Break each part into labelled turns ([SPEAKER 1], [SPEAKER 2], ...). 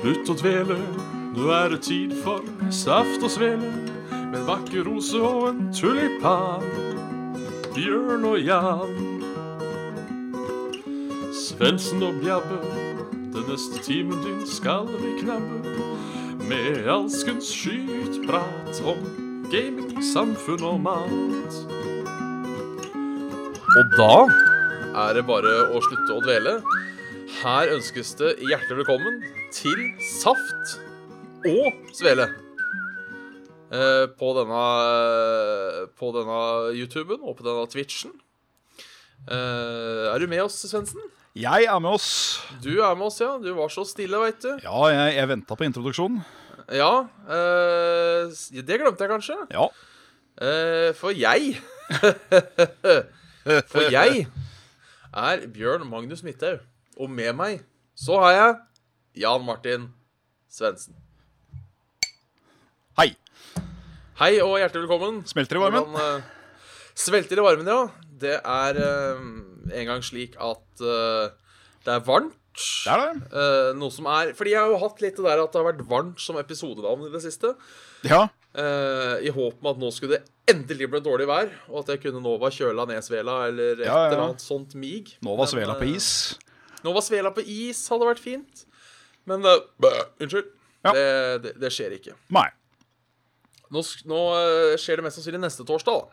[SPEAKER 1] Slutt å dvele, nå er det tid for saft og svele. Med en vakker rose og en tulipan. Bjørn og Jan. Svendsen og Bjabbe, den neste timen din skal vi knabbe. Med alskens skytprat om gaming, samfunn og mat.
[SPEAKER 2] Og da er det bare å slutte å dvele. Her ønskes det hjertelig velkommen til Saft og Svele. Eh, På denne, på denne YouTuben og på denne Twitchen. Eh, er du med oss, Svendsen?
[SPEAKER 3] Jeg er med oss.
[SPEAKER 2] Du er med oss, ja. Du var så stille, veit du.
[SPEAKER 3] Ja, jeg, jeg venta på introduksjonen.
[SPEAKER 2] Ja, eh, s- det glemte jeg kanskje.
[SPEAKER 3] Ja.
[SPEAKER 2] Eh, for jeg For jeg er Bjørn Magnus Midthaug. Og med meg så har jeg Jan Martin Svendsen.
[SPEAKER 3] Hei.
[SPEAKER 2] Hei og hjertelig velkommen.
[SPEAKER 3] Smelter i varmen.
[SPEAKER 2] Hvordan, eh, svelter i varmen, ja. Det er eh, en gang slik at eh, det er varmt.
[SPEAKER 3] Det er det.
[SPEAKER 2] Eh, noe som er Fordi jeg har jo hatt litt det der at det har vært varmt som episodenavn i det siste.
[SPEAKER 3] Ja.
[SPEAKER 2] Eh, I håp om at nå skulle det endelig bli dårlig vær, og at jeg kunne Nova kjøla Nesvela eller et
[SPEAKER 3] Ja, ja, ja.
[SPEAKER 2] eller annet sånt mig.
[SPEAKER 3] Nå var
[SPEAKER 2] Men,
[SPEAKER 3] svela på
[SPEAKER 2] eh,
[SPEAKER 3] is.
[SPEAKER 2] Nova Svela på is hadde vært fint. Men eh, bæ, Unnskyld.
[SPEAKER 3] Ja.
[SPEAKER 2] Det, det, det skjer ikke.
[SPEAKER 3] Nei.
[SPEAKER 2] Nå, sk- nå eh, skjer det mest sannsynlig neste torsdag, da.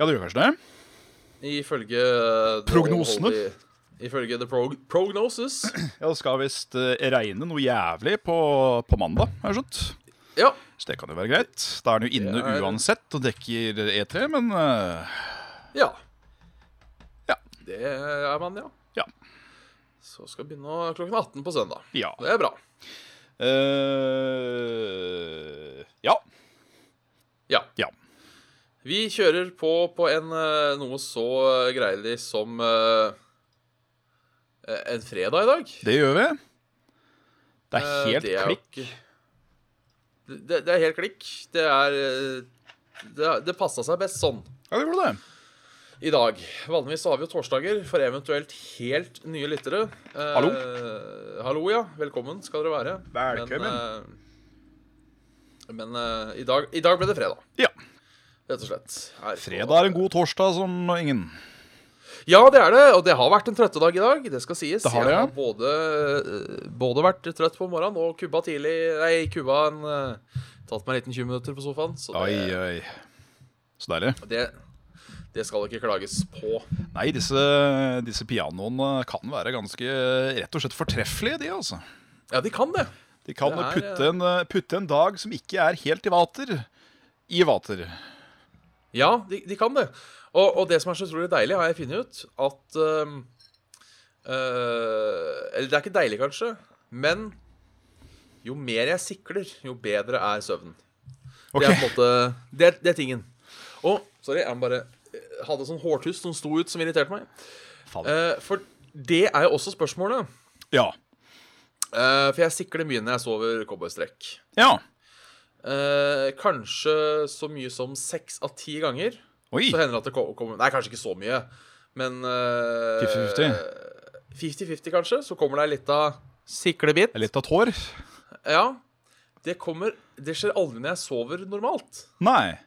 [SPEAKER 3] Ja, det gjør kanskje det.
[SPEAKER 2] Ifølge eh, det
[SPEAKER 3] Prognosene.
[SPEAKER 2] overholdige- Ifølge The prog Prognosis.
[SPEAKER 3] Ja, Det skal visst eh, regne noe jævlig på, på mandag, har jeg skjønt.
[SPEAKER 2] Ja.
[SPEAKER 3] Så det kan jo være greit. Da er den jo inne
[SPEAKER 2] Det er-
[SPEAKER 3] uansett og dekker E3, men eh,
[SPEAKER 2] Ja.
[SPEAKER 3] Ja.
[SPEAKER 2] Det er man, ja.
[SPEAKER 3] Ja.
[SPEAKER 2] Så skal begynne klokken 18 på søndag.
[SPEAKER 3] ja.
[SPEAKER 2] Det er bra.
[SPEAKER 3] Eh, ja.
[SPEAKER 2] Ja.
[SPEAKER 3] Ja.
[SPEAKER 2] Vi kjører på på en, eh, noe så eh, greielig som eh, eh, en fredag i dag.
[SPEAKER 3] Det gjør vi. Det er
[SPEAKER 2] Eh,
[SPEAKER 3] helt
[SPEAKER 2] det er jo
[SPEAKER 3] klikk.
[SPEAKER 2] ikke- Det, det- det er helt klikk. Det er eh, Det, er- det passa seg best sånn
[SPEAKER 3] Ja, det gjorde det.
[SPEAKER 2] i dag. Vanligvis så har vi jo torsdager for eventuelt helt nye lyttere. Eh,
[SPEAKER 3] Hallo.
[SPEAKER 2] hallo, ja. Velkommen skal dere være.
[SPEAKER 3] Velkommen.
[SPEAKER 2] Men, eh, men eh, i, dag, i dag ble det fredag,
[SPEAKER 3] Ja.
[SPEAKER 2] rett og slett. Her på-
[SPEAKER 3] Fredag er en god torsdag som ingen.
[SPEAKER 2] Ja, det er det. Og det har vært en trøttedag i dag. Det skal sies.
[SPEAKER 3] Det har det, ja.
[SPEAKER 2] Jeg har både, eh, både vært trøtt på morgenen og kubba tidlig. Nei, kubba en eh, Tatt meg en liten 20 minutter på sofaen. Så
[SPEAKER 3] Oi,
[SPEAKER 2] det,
[SPEAKER 3] oi. Så deilig.
[SPEAKER 2] det, det skal ikke klages på.
[SPEAKER 3] Nei, disse, disse pianoene kan være ganske rett og slett fortreffelige, de altså.
[SPEAKER 2] Ja, de kan det.
[SPEAKER 3] De kan
[SPEAKER 2] Det er, eh,
[SPEAKER 3] putte, en, putte en dag som ikke er helt i vater, i vater.
[SPEAKER 2] Ja, de, de kan det. Og, og det som er så utrolig deilig, har jeg funnet ut, at ehm, eh, Eller det er ikke deilig, kanskje, men jo mer jeg sikler, jo bedre er søvnen.
[SPEAKER 3] Ok.
[SPEAKER 2] Det er på en måte Det, det er tingen. Og sorry, jeg må bare jeg hadde sånn hårtuss som sto ut, som irriterte meg.
[SPEAKER 3] Fader.
[SPEAKER 2] Eh, for det er jo også spørsmålet.
[SPEAKER 3] Ja.
[SPEAKER 2] Eh, for jeg sikler mye når jeg sover cowboystrekk.
[SPEAKER 3] Ja.
[SPEAKER 2] Eh, kanskje så mye som seks av ti ganger.
[SPEAKER 3] Oi.
[SPEAKER 2] Så hender det at det ko- kommer Nei, kanskje ikke så mye, men eh,
[SPEAKER 3] 50-50?
[SPEAKER 2] 50-50, kanskje. Så kommer det ei lita siklebit.
[SPEAKER 3] Litt av tår.
[SPEAKER 2] Ja. Det kommer Det skjer aldri når jeg sover normalt.
[SPEAKER 3] Nei.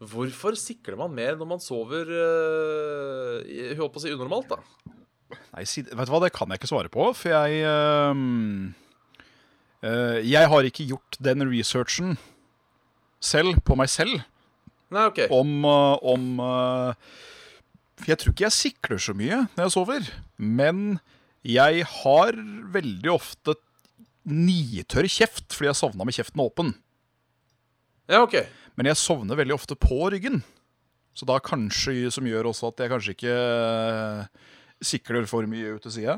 [SPEAKER 2] Hvorfor sikler man mer når man sover øh, Jeg holdt på å si unormalt, da?
[SPEAKER 3] Nei, si, vet du hva, det kan jeg ikke svare på, for jeg øhm, øh, Jeg har ikke gjort den researchen selv, på meg selv,
[SPEAKER 2] Nei, OK.
[SPEAKER 3] om, øh, om øh, For jeg tror ikke jeg sikler så mye når jeg sover, men jeg har veldig ofte nitørr kjeft fordi jeg sovna med kjeften åpen.
[SPEAKER 2] Ja, ok.
[SPEAKER 3] Men jeg sovner veldig ofte på ryggen. Så da kanskje som gjør også at jeg kanskje ikke eh, sikler for mye ut til sida.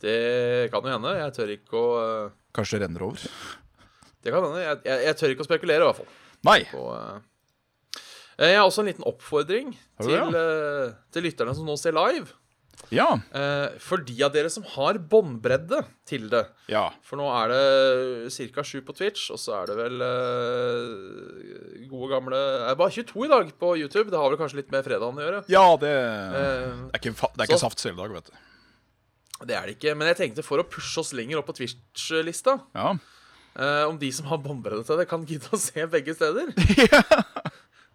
[SPEAKER 2] Det kan jo hende. Jeg tør ikke å øh,
[SPEAKER 3] Kanskje det renner over.
[SPEAKER 2] Det kan hende. Jeg, jeg, jeg tør ikke å spekulere, i hvert fall.
[SPEAKER 3] Nei.
[SPEAKER 2] På, øh. Eh, Jeg har også en liten oppfordring
[SPEAKER 3] Har du
[SPEAKER 2] til,
[SPEAKER 3] det,
[SPEAKER 2] øh, til lytterne som nå ser live.
[SPEAKER 3] Ja.
[SPEAKER 2] Eh, For de av dere som har båndbredde til det
[SPEAKER 3] Ja.
[SPEAKER 2] For nå er det ca. sju på Twitch, og så er det vel eh, gode gamle Det er bare 22 i dag på YouTube. Det har vel kanskje litt med fredagen å gjøre.
[SPEAKER 3] Ja, det,
[SPEAKER 2] Eh,
[SPEAKER 3] det er ikke, fa- det er ikke
[SPEAKER 2] så-
[SPEAKER 3] saft seldag, vet du.
[SPEAKER 2] Det er det ikke. Men jeg tenkte for å pushe oss lenger opp på Twitch-lista
[SPEAKER 3] Ja.
[SPEAKER 2] eh, Om de som har bombereddet seg, det kan gidde å se begge steder.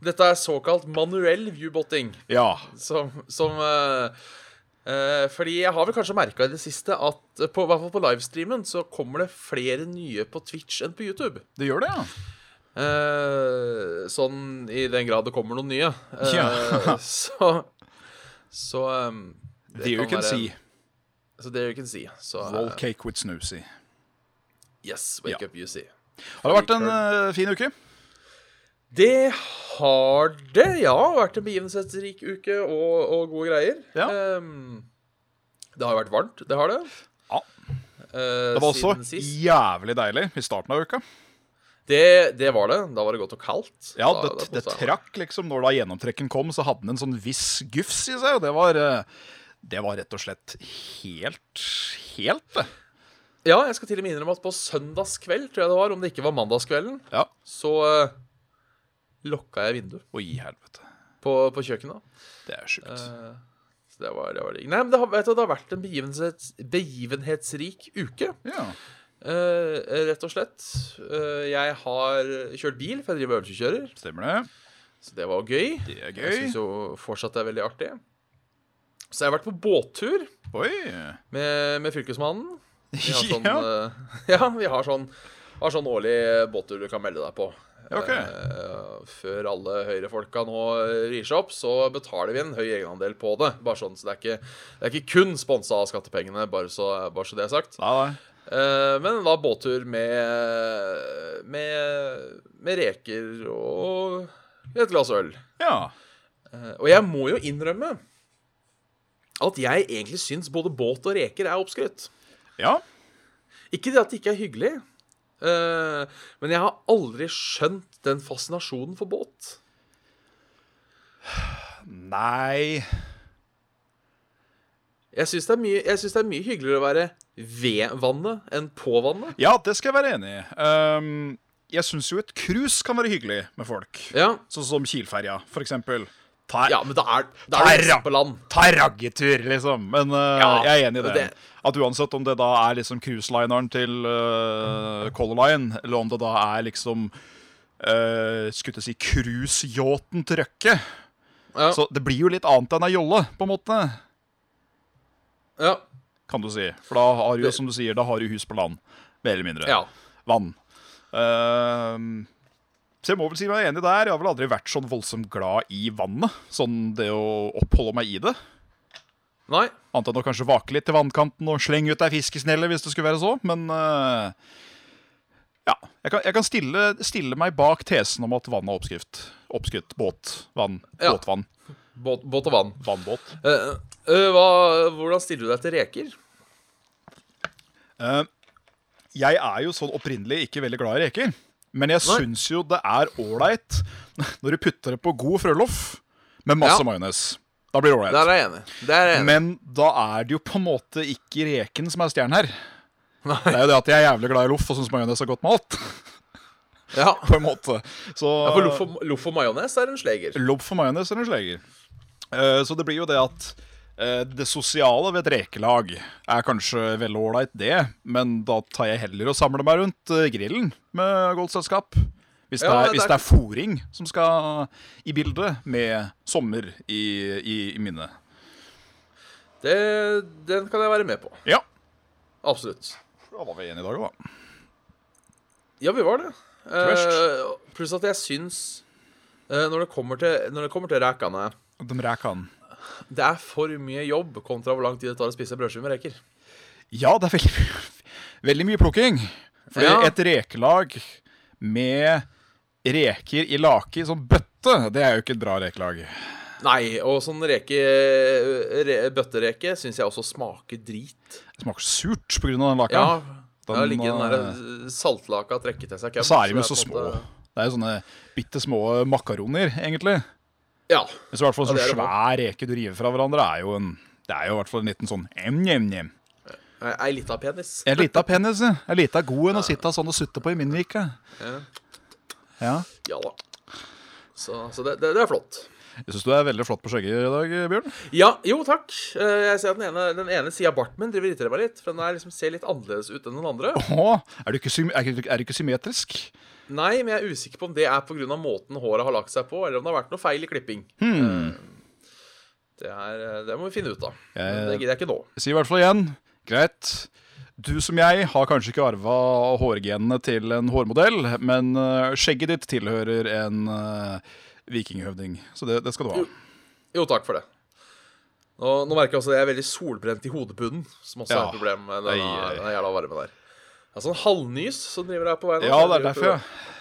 [SPEAKER 2] Dette er såkalt manuell viewbotting.
[SPEAKER 3] ja.
[SPEAKER 2] Som, som eh, eh, Fordi jeg har vel kanskje merka i det siste at eh, på, i hvert fall på livestreamen så kommer det flere nye på Twitch enn på YouTube.
[SPEAKER 3] Det gjør det, ja.
[SPEAKER 2] Eh, sånn i den grad det kommer noen nye. Eh,
[SPEAKER 3] Ja.
[SPEAKER 2] så så um,
[SPEAKER 3] There you can see.
[SPEAKER 2] So there you can see. Så, eh,
[SPEAKER 3] Roll cake with snoozy.
[SPEAKER 2] yes, wake
[SPEAKER 3] Ja.
[SPEAKER 2] up you see.
[SPEAKER 3] Har det vært en eh, fin uke?
[SPEAKER 2] Det har det, ja. Vært en begivenhetsrik uke og, og gode greier.
[SPEAKER 3] Ja.
[SPEAKER 2] Ehm, det har vært varmt, det har det.
[SPEAKER 3] Ja.
[SPEAKER 2] Eh,
[SPEAKER 3] Det var også
[SPEAKER 2] siden sist.
[SPEAKER 3] jævlig deilig i starten av uka.
[SPEAKER 2] Det, det var det. Da var det godt og kaldt.
[SPEAKER 3] Ja, det,
[SPEAKER 2] Da- da koset
[SPEAKER 3] det
[SPEAKER 2] jeg meg.
[SPEAKER 3] trakk liksom Når da gjennomtrekken kom, så hadde den en sånn viss gufs i seg, og det var eh, Det var rett og slett helt Helt, det.
[SPEAKER 2] Ja, jeg skal til og med innrømme at på søndagskveld, tror jeg det var, om det ikke var mandagskvelden,
[SPEAKER 3] Ja.
[SPEAKER 2] så eh, lokka jeg vinduet
[SPEAKER 3] Å, i helvete.
[SPEAKER 2] på, på kjøkkenet.
[SPEAKER 3] Det er sjukt.
[SPEAKER 2] Eh, så det var, det var digg. Nei, men det har, vet du, det har vært en begivenhets, begivenhetsrik uke.
[SPEAKER 3] ja.
[SPEAKER 2] Eh, rett og slett. Eh, jeg har kjørt bil, for jeg driver øvelseskjører.
[SPEAKER 3] Stemmer det.
[SPEAKER 2] Så det var gøy.
[SPEAKER 3] Det er
[SPEAKER 2] Jeg
[SPEAKER 3] gøy.
[SPEAKER 2] syns jo fortsatt det er veldig artig. Så jeg har vært på båttur
[SPEAKER 3] Oi.
[SPEAKER 2] med, med Fylkesmannen. Vi har sånn,
[SPEAKER 3] Ja.
[SPEAKER 2] eh, ja, vi har sånn, har sånn årlig båttur du kan melde deg på.
[SPEAKER 3] Ja, ok.
[SPEAKER 2] Eh, før alle Høyre-folka nå rir seg opp, så betaler vi en høy egenandel på det. Bare sånn, så det er ikke, det er ikke kun sponsa av skattepengene, bare så, bare så det er sagt.
[SPEAKER 3] Nei, nei.
[SPEAKER 2] Eh, men da båttur med, med, med reker og et glass øl.
[SPEAKER 3] Ja.
[SPEAKER 2] Eh, og jeg må jo innrømme at jeg egentlig syns både båt og reker er oppskrytt.
[SPEAKER 3] Ja.
[SPEAKER 2] Ikke det at det ikke er hyggelig, eh, men jeg har aldri skjønt den fascinasjonen for båt.
[SPEAKER 3] Nei.
[SPEAKER 2] Jeg syns det, er mye- jeg syns det er mye hyggeligere å være ved vannet enn på vannet.
[SPEAKER 3] Ja, det skal jeg være enig i. Ehm, jeg syns jo et cruise kan være hyggelig med folk.
[SPEAKER 2] Ja,
[SPEAKER 3] Sånn som Kielferja, for eksempel. Ta,
[SPEAKER 2] ja men da er, da er det
[SPEAKER 3] Terra.
[SPEAKER 2] liksom på land.
[SPEAKER 3] ta raggetur, liksom. Men eh,
[SPEAKER 2] Ja,
[SPEAKER 3] jeg er enig i det.
[SPEAKER 2] det-
[SPEAKER 3] At uansett om det da er liksom cruiselineren til eh, Color Line, eller om det da er liksom eh, Skulle til å si cruiseyachten til Røkke.
[SPEAKER 2] Ja.
[SPEAKER 3] Så det blir jo litt annet enn ei jolle, på en måte,
[SPEAKER 2] Ja,
[SPEAKER 3] kan du si. For da har du jo,
[SPEAKER 2] Det-
[SPEAKER 3] som du sier, da har du hus på land. Mer eller mindre.
[SPEAKER 2] ja.
[SPEAKER 3] vann. Ehm, så jeg må vel si meg enig der. Jeg har vel aldri vært sånn voldsomt glad i vannet. Sånn det å oppholde meg i det.
[SPEAKER 2] Nei.
[SPEAKER 3] Annet enn å kanskje vake litt til vannkanten og slenge ut ei fiskesnelle hvis det skulle være så. Men eh, ja. Jeg kan, jeg kan stille, stille meg bak tesen om at vann er oppskrift. Oppskrytt. Båt. Vann.
[SPEAKER 2] Ja.
[SPEAKER 3] Båtvann.
[SPEAKER 2] Båt, båt og vann.
[SPEAKER 3] Vannbåt.
[SPEAKER 2] Eh, eh, hva, hvordan stiller du deg til reker?
[SPEAKER 3] Eh, jeg er jo sånn opprinnelig ikke veldig glad i reker. Men jeg
[SPEAKER 2] Nei.
[SPEAKER 3] syns jo det er ålreit når du putter det på god frøloff med masse
[SPEAKER 2] Ja.
[SPEAKER 3] majones. Da blir det
[SPEAKER 2] Der
[SPEAKER 3] ålreit.
[SPEAKER 2] er jeg enig. Der er jeg enig.
[SPEAKER 3] Men da er det jo på en måte ikke reken som er stjernen her. Det er jo det at jeg er jævlig glad i loff og syns majones er godt med alt.
[SPEAKER 2] Ja.
[SPEAKER 3] På en måte. Så
[SPEAKER 2] Ja, For loff og, loff og majones er en sleger.
[SPEAKER 3] Lobb for majones eller sleger. Eh, så det blir jo det at eh, det sosiale ved et rekelag er kanskje veldig ålreit, det, men da tar jeg heller og samler meg rundt eh, grillen med godt selskap. Hvis, det
[SPEAKER 2] Ja,
[SPEAKER 3] er,
[SPEAKER 2] det
[SPEAKER 3] hvis
[SPEAKER 2] er-
[SPEAKER 3] det er fòring som skal i bildet, med sommer i, i, i minnet.
[SPEAKER 2] Det, den kan jeg være med på.
[SPEAKER 3] Ja.
[SPEAKER 2] Absolutt.
[SPEAKER 3] Da var vi enige i dag, da.
[SPEAKER 2] Ja, vi var det. Eh,
[SPEAKER 3] Tvørst.
[SPEAKER 2] pluss at jeg syns eh, når, det kommer til, når det kommer til rekene
[SPEAKER 3] De rekan.
[SPEAKER 2] Det er for mye jobb kontra hvor lang tid det tar å spise brødskive med reker.
[SPEAKER 3] Ja, det er veldig, veldig mye plukking. Fordi
[SPEAKER 2] Ja.
[SPEAKER 3] et rekelag med reker i lake i sånn bøtte, det er jo ikke et bra rekelag.
[SPEAKER 2] Nei, og sånn reke, re, bøttereke syns jeg også smaker drit.
[SPEAKER 3] Det smaker så surt pga. den laka.
[SPEAKER 2] Ja.
[SPEAKER 3] Den,
[SPEAKER 2] Den, ja, ligger den
[SPEAKER 3] eh,
[SPEAKER 2] der saltlaka trekket til seg køm.
[SPEAKER 3] så er de jo
[SPEAKER 2] det
[SPEAKER 3] så
[SPEAKER 2] på en
[SPEAKER 3] små.
[SPEAKER 2] måte-
[SPEAKER 3] Det er jo sånne bitte små makaroner, egentlig.
[SPEAKER 2] Ja.
[SPEAKER 3] Men så i hvert fall
[SPEAKER 2] Ja,
[SPEAKER 3] sånn
[SPEAKER 2] det er det
[SPEAKER 3] svær reke du river fra hverandre, er jo en det er jo i hvert fall en liten sånn em, em, em.
[SPEAKER 2] Ei- Ei lita penis.
[SPEAKER 3] En lita penis, ja. En lita god en å sitte sånn og sutte på i min vike.
[SPEAKER 2] Ja.
[SPEAKER 3] Ja.
[SPEAKER 2] Ja da. Så, så det, det, det er flott.
[SPEAKER 3] Jeg syns du er veldig flott på skjegget i dag, Bjørn.
[SPEAKER 2] Ja, jo, takk. Eh, Jeg ser at den ene, den ene sida av barten min driver og irriterer meg litt. For den er liksom, ser litt annerledes ut enn den andre.
[SPEAKER 3] Å, er du ikke, sym- er, du- er du ikke symmetrisk?
[SPEAKER 2] Nei, men jeg er usikker på om det er pga. måten håret har lagt seg på, eller om det har vært noe feil i klipping.
[SPEAKER 3] Hmm.
[SPEAKER 2] Eh, Det, er, eh, det må vi finne ut av. Men Det
[SPEAKER 3] Jeg
[SPEAKER 2] gidder jeg ikke nå.
[SPEAKER 3] sier i hvert fall igjen, greit. Du som jeg har kanskje ikke arva hårgenene til en hårmodell, men eh, skjegget ditt tilhører en eh, vikinghøvding. Så det, det skal du ha.
[SPEAKER 2] Jo, takk for det. Nå, nå merker jeg også at jeg er veldig solbrent i hodebunnen, som også
[SPEAKER 3] Ja.
[SPEAKER 2] er et problem med
[SPEAKER 3] Ei,
[SPEAKER 2] denne,
[SPEAKER 3] ei.
[SPEAKER 2] denne jævla varmen der. Det er sånn halvnys som driver her på veien.
[SPEAKER 3] Ja, det er derfor, ja.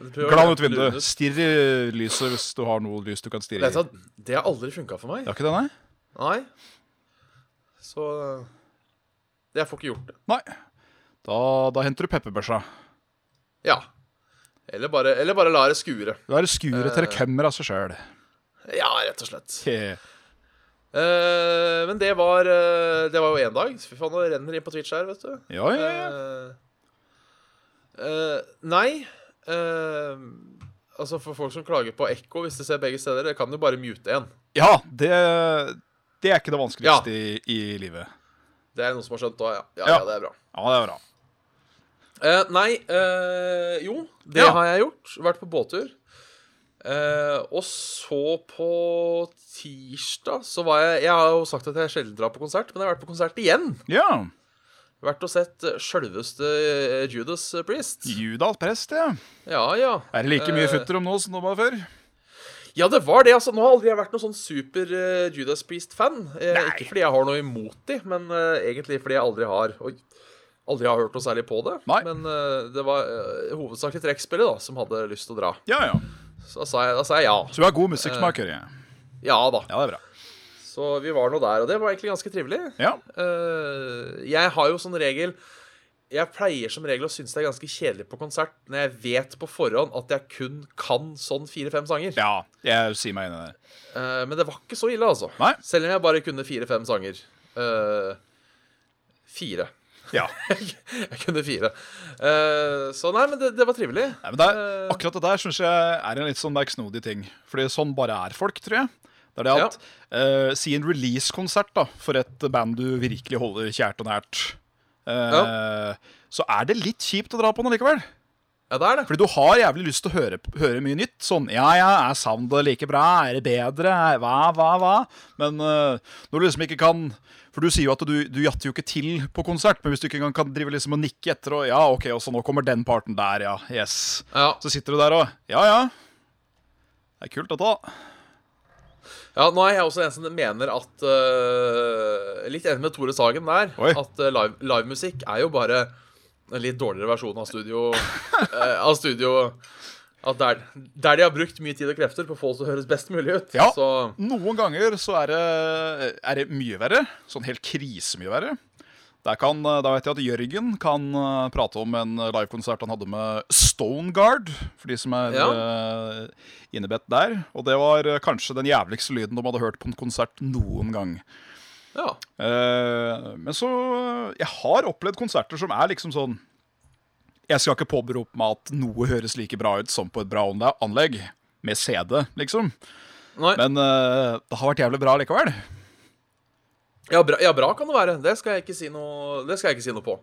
[SPEAKER 3] Glan ut vinduet.
[SPEAKER 2] Det,
[SPEAKER 3] Stirr i lyset hvis du har noe lys du kan stirre i. Det
[SPEAKER 2] det har aldri funka for meg.
[SPEAKER 3] har ikke det, nei?
[SPEAKER 2] Nei. Så eh, Jeg får ikke gjort det.
[SPEAKER 3] Nei. Da, da henter du pepperbørsa.
[SPEAKER 2] Ja. Eller bare, eller bare la det skure.
[SPEAKER 3] Da er det skuret til det kommer av seg sjøl.
[SPEAKER 2] Ja, rett og slett.
[SPEAKER 3] Ja,
[SPEAKER 2] Eh, men det var eh, Det var jo én dag. Fy faen, nå renner det inn på Twitch her, vet du.
[SPEAKER 3] ja, ja.
[SPEAKER 2] Eh, eh, nei. eh, altså For folk som klager på ekko hvis de ser begge steder, det kan jo bare mute én.
[SPEAKER 3] ja det, det er ikke det
[SPEAKER 2] Ja.
[SPEAKER 3] vanskeligste i, i livet.
[SPEAKER 2] Det er noen som har skjønt da, ja. Ja, ja.
[SPEAKER 3] Ja.
[SPEAKER 2] det er bra.
[SPEAKER 3] Ja, det er bra.
[SPEAKER 2] Eh, nei eh, Jo, det
[SPEAKER 3] Ja.
[SPEAKER 2] har jeg gjort. Vært på båttur. Eh, og så på tirsdag så var jeg Jeg har jo sagt at jeg sjelden drar på konsert, men jeg har vært på konsert igjen.
[SPEAKER 3] Ja.
[SPEAKER 2] Vært og sett eh, sjølveste eh, Judas Priest.
[SPEAKER 3] Judas prest, ja.
[SPEAKER 2] Ja, ja.
[SPEAKER 3] Er det like mye
[SPEAKER 2] Eh,
[SPEAKER 3] futter om nå som det var før?
[SPEAKER 2] Ja, det var det. altså Nå har aldri jeg vært noen sånn super eh, Judas Priest-fan. Eh,
[SPEAKER 3] Nei.
[SPEAKER 2] ikke fordi jeg har noe imot de, men eh, egentlig fordi jeg aldri har Oi, aldri har hørt noe særlig på det.
[SPEAKER 3] Nei.
[SPEAKER 2] Men eh, det var eh, hovedsakelig trekkspillet da som hadde lyst til å dra.
[SPEAKER 3] Ja, ja.
[SPEAKER 2] Så da sa jeg, da sa jeg ja.
[SPEAKER 3] Så du har god musikksmaker. Ja.
[SPEAKER 2] Ja da.
[SPEAKER 3] ja, det er bra.
[SPEAKER 2] Så vi var nå der, og det var egentlig ganske trivelig.
[SPEAKER 3] Ja.
[SPEAKER 2] Eh, jeg har jo som regel Jeg pleier som regel å synes det er ganske kjedelig på konsert når jeg vet på forhånd at jeg kun kan sånn fire-fem sanger.
[SPEAKER 3] ja jeg sier meg enig i det.
[SPEAKER 2] Eh, men det var ikke så ille, altså.
[SPEAKER 3] Nei.
[SPEAKER 2] Selv om jeg bare kunne fire-fem sanger. Eh, fire.
[SPEAKER 3] Ja.
[SPEAKER 2] Jeg kunne fire. Eh, så nei, men det, det var trivelig.
[SPEAKER 3] Nei, men det er,
[SPEAKER 2] Eh.
[SPEAKER 3] akkurat det der syns jeg er en litt sånn merksnodig ting. Fordi sånn bare er folk, tror jeg. Det er det at eh, Si en release-konsert da for et band du virkelig holder kjært og nært. eh, Så er det litt kjipt å dra på den likevel.
[SPEAKER 2] Ja, det er det.
[SPEAKER 3] Fordi du har jævlig lyst til å høre, høre mye nytt. Sånn ja, ja, er soundet like bra? Er det bedre? Er- Hva, hva, hva? Men eh, når du liksom ikke kan For du sier jo at du, du jatter jo ikke til på konsert, men hvis du ikke engang kan drive liksom og nikke etter og Ja, OK, og så nå kommer den parten der, ja. Yes.
[SPEAKER 2] Ja,
[SPEAKER 3] Så sitter du der og Ja, ja. Det er kult, dette. da.
[SPEAKER 2] ja Nå er jeg også en som mener at eh, Litt enig med Tore Sagen der.
[SPEAKER 3] Oi.
[SPEAKER 2] At eh, live livemusikk er jo bare en litt dårligere versjon av studio. eh, av studio at der, der de har brukt mye tid og krefter på å få det til å høres best mulig ut.
[SPEAKER 3] Ja.
[SPEAKER 2] Så
[SPEAKER 3] Noen ganger så er det, er det mye verre. Sånn helt krisemye verre. Der kan, da vet jeg at Jørgen kan eh, prate om en livekonsert han hadde med Stoneguard. For de som er
[SPEAKER 2] Ja.
[SPEAKER 3] eh, innebedt der. Og det var eh, kanskje den jævligste lyden de hadde hørt på en konsert noen gang.
[SPEAKER 2] ja.
[SPEAKER 3] Eh, men så Jeg har opplevd konserter som er liksom sånn Jeg skal ikke påberope meg at noe høres like bra ut som på et bra anle- anlegg. Med CD, liksom.
[SPEAKER 2] Nei.
[SPEAKER 3] Men eh, det har vært jævlig bra likevel.
[SPEAKER 2] Ja bra, ja, bra kan det være. Det skal jeg ikke si noe, det skal jeg ikke si noe på.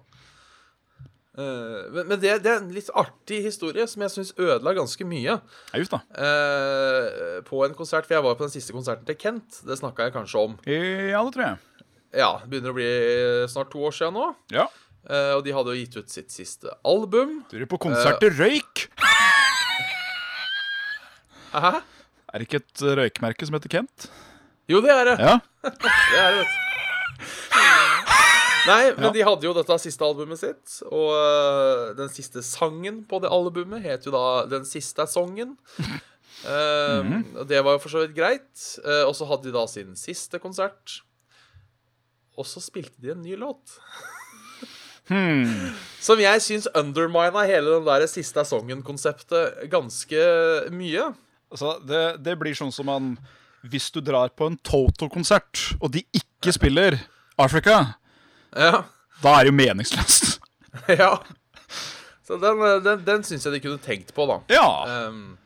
[SPEAKER 2] Eh, men men det, det er en litt artig historie som jeg syns ødela ganske mye
[SPEAKER 3] Ja, just da.
[SPEAKER 2] eh, på en konsert. For jeg var på den siste konserten til Kent. Det snakka jeg kanskje om.
[SPEAKER 3] Ja, det tror jeg.
[SPEAKER 2] Ja, det begynner å bli eh, snart to år siden nå.
[SPEAKER 3] Ja.
[SPEAKER 2] Eh, og de hadde jo gitt ut sitt siste album.
[SPEAKER 3] Du er på konsert til røyk!
[SPEAKER 2] Hæ?
[SPEAKER 3] Er det ikke et eh, røykmerke som heter Kent?
[SPEAKER 2] Jo, det er det.
[SPEAKER 3] Ja.
[SPEAKER 2] Det er det, vet du. Nei, men de hadde jo dette siste albumet sitt, og øh, den siste sangen på det albumet het jo da 'Den siste er songen'. Eh, Og det var jo for så vidt greit. Eh, og så hadde de da sin siste konsert. Og så spilte de en ny låt. Som jeg syns undermina hele den der siste er songen-konseptet ganske mye.
[SPEAKER 3] Altså, det, det blir sånn som man Hvis du drar på en Toto-konsert, og de ikke spiller Africa,
[SPEAKER 2] Ja.
[SPEAKER 3] da er det jo meningsløst.
[SPEAKER 2] eh, ja. Så den, øh, den, den syns jeg de kunne tenkt på, da.
[SPEAKER 3] Ja.
[SPEAKER 2] Um,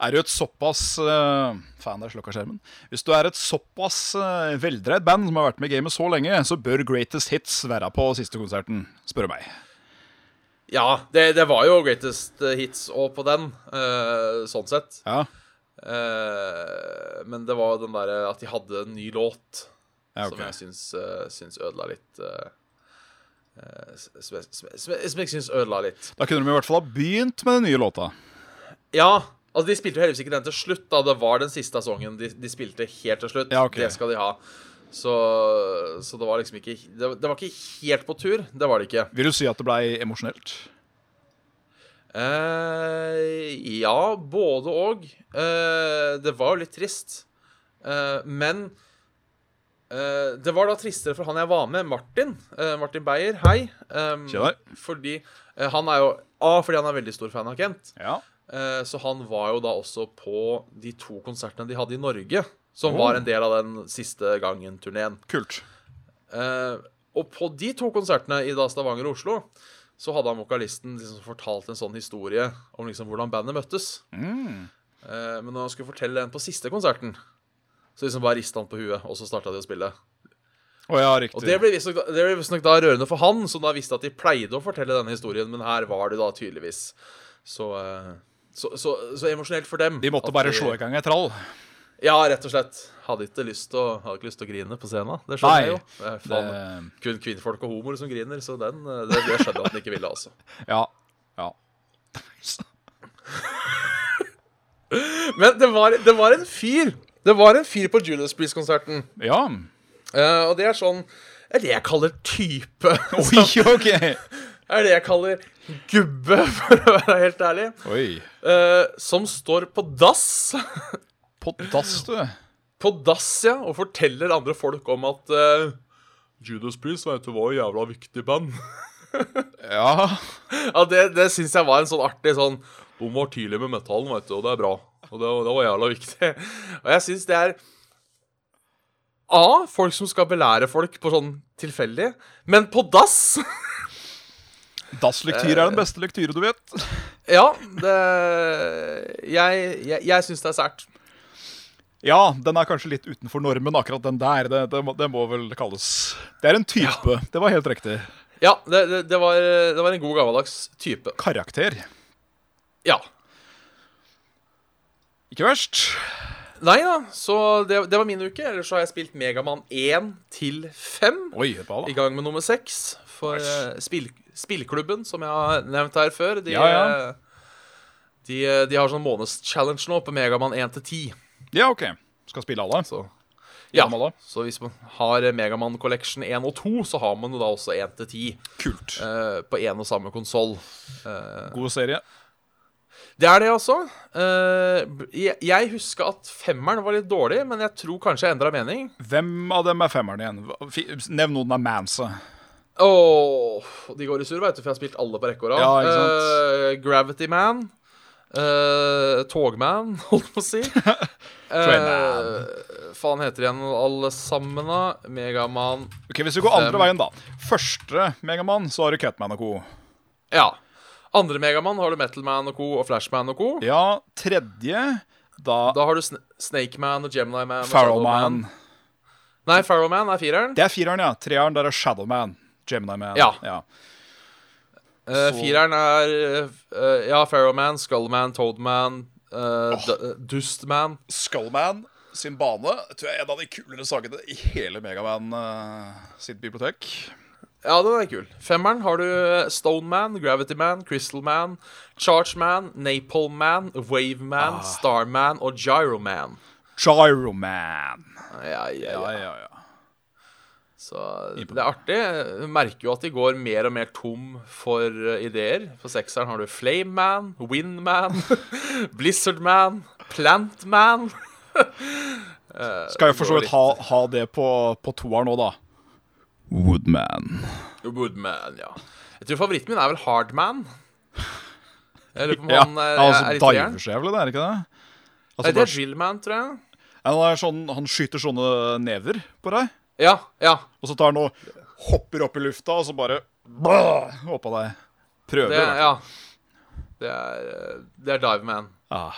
[SPEAKER 3] Er du et såpass eh, Fan, der slukka skjermen. Hvis du er et såpass eh, veldreid band som har vært med i gamet så lenge, så bør Greatest Hits være på siste konserten, spør du meg.
[SPEAKER 2] Ja, det, det var jo greatest hits òg på den, eh, sånn sett.
[SPEAKER 3] Ja,
[SPEAKER 2] Eh, men det var den derre at de hadde en ny låt
[SPEAKER 3] ja
[SPEAKER 2] som
[SPEAKER 3] ok.
[SPEAKER 2] jeg syns, eh, syns ødela litt eh, eh, som, jeg- som, jeg- som jeg- som jeg syns ødela litt.
[SPEAKER 3] Da kunne de i hvert fall ha begynt med den nye låta.
[SPEAKER 2] Ja, altså de spilte jo heldigvis ikke den til slutt, da. Det var den siste sangen de, de spilte helt til slutt.
[SPEAKER 3] Ja, ok.
[SPEAKER 2] Det skal de ha. Så, så det var liksom ikke det, det var ikke helt på tur. Det var det ikke.
[SPEAKER 3] Vil du si at det blei emosjonelt?
[SPEAKER 2] Eh, ja, både og. Eh, det var jo litt trist. Eh, men eh, det var da tristere for han jeg var med, Martin. Eh, Martin Beyer, hei. Um,
[SPEAKER 3] Mm. Kjell
[SPEAKER 2] fordi eh, han er jo A, fordi han er veldig stor fan av Kent.
[SPEAKER 3] Ja.
[SPEAKER 2] Eh, Så han var jo da også på de to konsertene de hadde i Norge, som var en del av den siste gangen-turneen.
[SPEAKER 3] Kult.
[SPEAKER 2] Eh, Og på de to konsertene i da Stavanger og Oslo så hadde han vokalisten liksom fortalt en sånn historie om liksom hvordan bandet møttes. Eh, Men når han skulle fortelle den på siste konserten, så liksom bare rista han på huet, og så starta de å spille.
[SPEAKER 3] Å ja, riktig.
[SPEAKER 2] Og det ble visstnok det ble visstnok da rørende for han, som da visste at de pleide å fortelle denne historien, men her var det da tydeligvis så eh, så, så, så emosjonelt for dem.
[SPEAKER 3] De måtte
[SPEAKER 2] at
[SPEAKER 3] bare slå i gang ei trall.
[SPEAKER 2] Ja, rett og slett. Hadde ikke lyst til å, hadde ikke lyst til å grine på scenen. Det
[SPEAKER 3] Nei,
[SPEAKER 2] skjønner jeg jo. Det er faen,
[SPEAKER 3] det-
[SPEAKER 2] kun kvinnfolk og homoer som griner, så den, eh, det, det skjønner jeg at den ikke ville, altså.
[SPEAKER 3] Ja. ja.
[SPEAKER 2] Men det var, det var en fyr. Det var en fyr på Judas Priest-konserten.
[SPEAKER 3] Ja.
[SPEAKER 2] Eh, og det er sånn Det er det jeg kaller type.
[SPEAKER 3] Oi, ok.
[SPEAKER 2] Det er det jeg kaller gubbe, for å være helt ærlig.
[SPEAKER 3] Oi.
[SPEAKER 2] Eh, som står på dass.
[SPEAKER 3] På dass, du.
[SPEAKER 2] På dass, ja, og forteller andre folk om at eh, Judas Priest vet du, var jo jævla viktig band.
[SPEAKER 3] Ja.
[SPEAKER 2] ja, Det, det syns jeg var en sånn artig sånn De var tidlig med metallen, vet du, og det er bra. Og det, var- det var jævla viktig. Og jeg syns det er A. Folk som skal belære folk på sånn tilfeldig, men på dass
[SPEAKER 3] Dasslektyr er den beste lektyre du vet.
[SPEAKER 2] Ja, det Jeg, jeg, jeg syns det er sært.
[SPEAKER 3] Ja, den er kanskje litt utenfor normen, akkurat den der. Det, det, må, det må vel kalles Det er en type. Det var helt riktig.
[SPEAKER 2] Ja, det, det, det, var, det var en god gammeldags type.
[SPEAKER 3] Karakter.
[SPEAKER 2] Ja.
[SPEAKER 3] Ikke verst.
[SPEAKER 2] Nei da, så det, det var min uke. Ellers så har jeg spilt Megaman 1 til 5.
[SPEAKER 3] Oi, bra,
[SPEAKER 2] I
[SPEAKER 3] da.
[SPEAKER 2] gang med nummer 6 for eh, spill, spillklubben, som jeg har nevnt her før. De,
[SPEAKER 3] Ja, ja.
[SPEAKER 2] eh, De, eh, de har sånn månedschallenge nå på Megaman 1 til 10.
[SPEAKER 3] Ja, OK. Skal spille alle.
[SPEAKER 2] Så, ja.
[SPEAKER 3] Gjennom alle.
[SPEAKER 2] så hvis man har Megaman Collection 1 og 2, så har man jo da også 1 til 10
[SPEAKER 3] Kult.
[SPEAKER 2] eh, på én og samme konsoll.
[SPEAKER 3] God serie.
[SPEAKER 2] Det er det, altså. Eh, b- jeg- jeg husker at femmeren var litt dårlig, men jeg tror kanskje jeg endra mening.
[SPEAKER 3] Hvem av dem er femmeren igjen? Hva- fi- Nevn noen av mansa.
[SPEAKER 2] Åh, de går i surr, vet du, for jeg har spilt alle på rekke og rad.
[SPEAKER 3] Ja, ikke sant?
[SPEAKER 2] Eh, Gravity Man. eh, Togman, holdt på å si.
[SPEAKER 3] Trainman.
[SPEAKER 2] Eh, faen heter de igjen alle sammen, da? Megaman
[SPEAKER 3] Ok, Hvis vi går andre
[SPEAKER 2] Fem.
[SPEAKER 3] veien, da. Første Megamann, så har du Catman og co.
[SPEAKER 2] Ja. Andre Megaman har du Metalman og co. og Flashman og co.
[SPEAKER 3] Ja, tredje da,
[SPEAKER 2] Da har du Sn Snakeman og Gemini Man. og
[SPEAKER 3] Farrowman.
[SPEAKER 2] Shadowman. Nei, Farrowman er fireren.
[SPEAKER 3] Det er fireren, ja. Treeren der er Shadowman. Gemini Man.
[SPEAKER 2] Ja.
[SPEAKER 3] ja.
[SPEAKER 2] Eh, fireren er eh, Ja, Farrowman, Skullman, Toadman, eh, D- eh, Dustman.
[SPEAKER 3] Skullman sin bane tror jeg er en av de kulere sakene i hele Megaman eh, sitt bibliotek.
[SPEAKER 2] Ja, den er kul. Femmeren har du eh, Stoneman, Gravityman, Crystalman, Chargeman, Napalman,
[SPEAKER 3] Ah.
[SPEAKER 2] Waveman, Starman og Gyroman.
[SPEAKER 3] Gyroman.
[SPEAKER 2] Ja, ja,
[SPEAKER 3] Ja,
[SPEAKER 2] ja.
[SPEAKER 3] ja, ja.
[SPEAKER 2] Så det er artig. Du merker jo at de går mer og mer tom for eh, ideer. På sekseren har du Flameman, Windman, Blizzardman, Plantman.
[SPEAKER 3] Skal jo for så vidt ha, ha det på, på toeren nå, da. Woodman.
[SPEAKER 2] Woodman, ja. Jeg tror favoritten min er vel Hardman. Jeg lurer på om
[SPEAKER 3] Ja,
[SPEAKER 2] han
[SPEAKER 3] ja,
[SPEAKER 2] er,
[SPEAKER 3] altså
[SPEAKER 2] er italiener.
[SPEAKER 3] Diveskjevle, det er ikke det?
[SPEAKER 2] Nei,
[SPEAKER 3] Altså,
[SPEAKER 2] det
[SPEAKER 3] det
[SPEAKER 2] er Drillman, tror jeg.
[SPEAKER 3] han, er sånn, han skyter sånne never på deg.
[SPEAKER 2] Ja, ja.
[SPEAKER 3] Og så tar han og hopper opp i lufta, og så bare bah, oppå deg. Prøver. i
[SPEAKER 2] Det,
[SPEAKER 3] hvert fall.
[SPEAKER 2] ja. Det er, eh, det er Diveman.
[SPEAKER 3] Ah.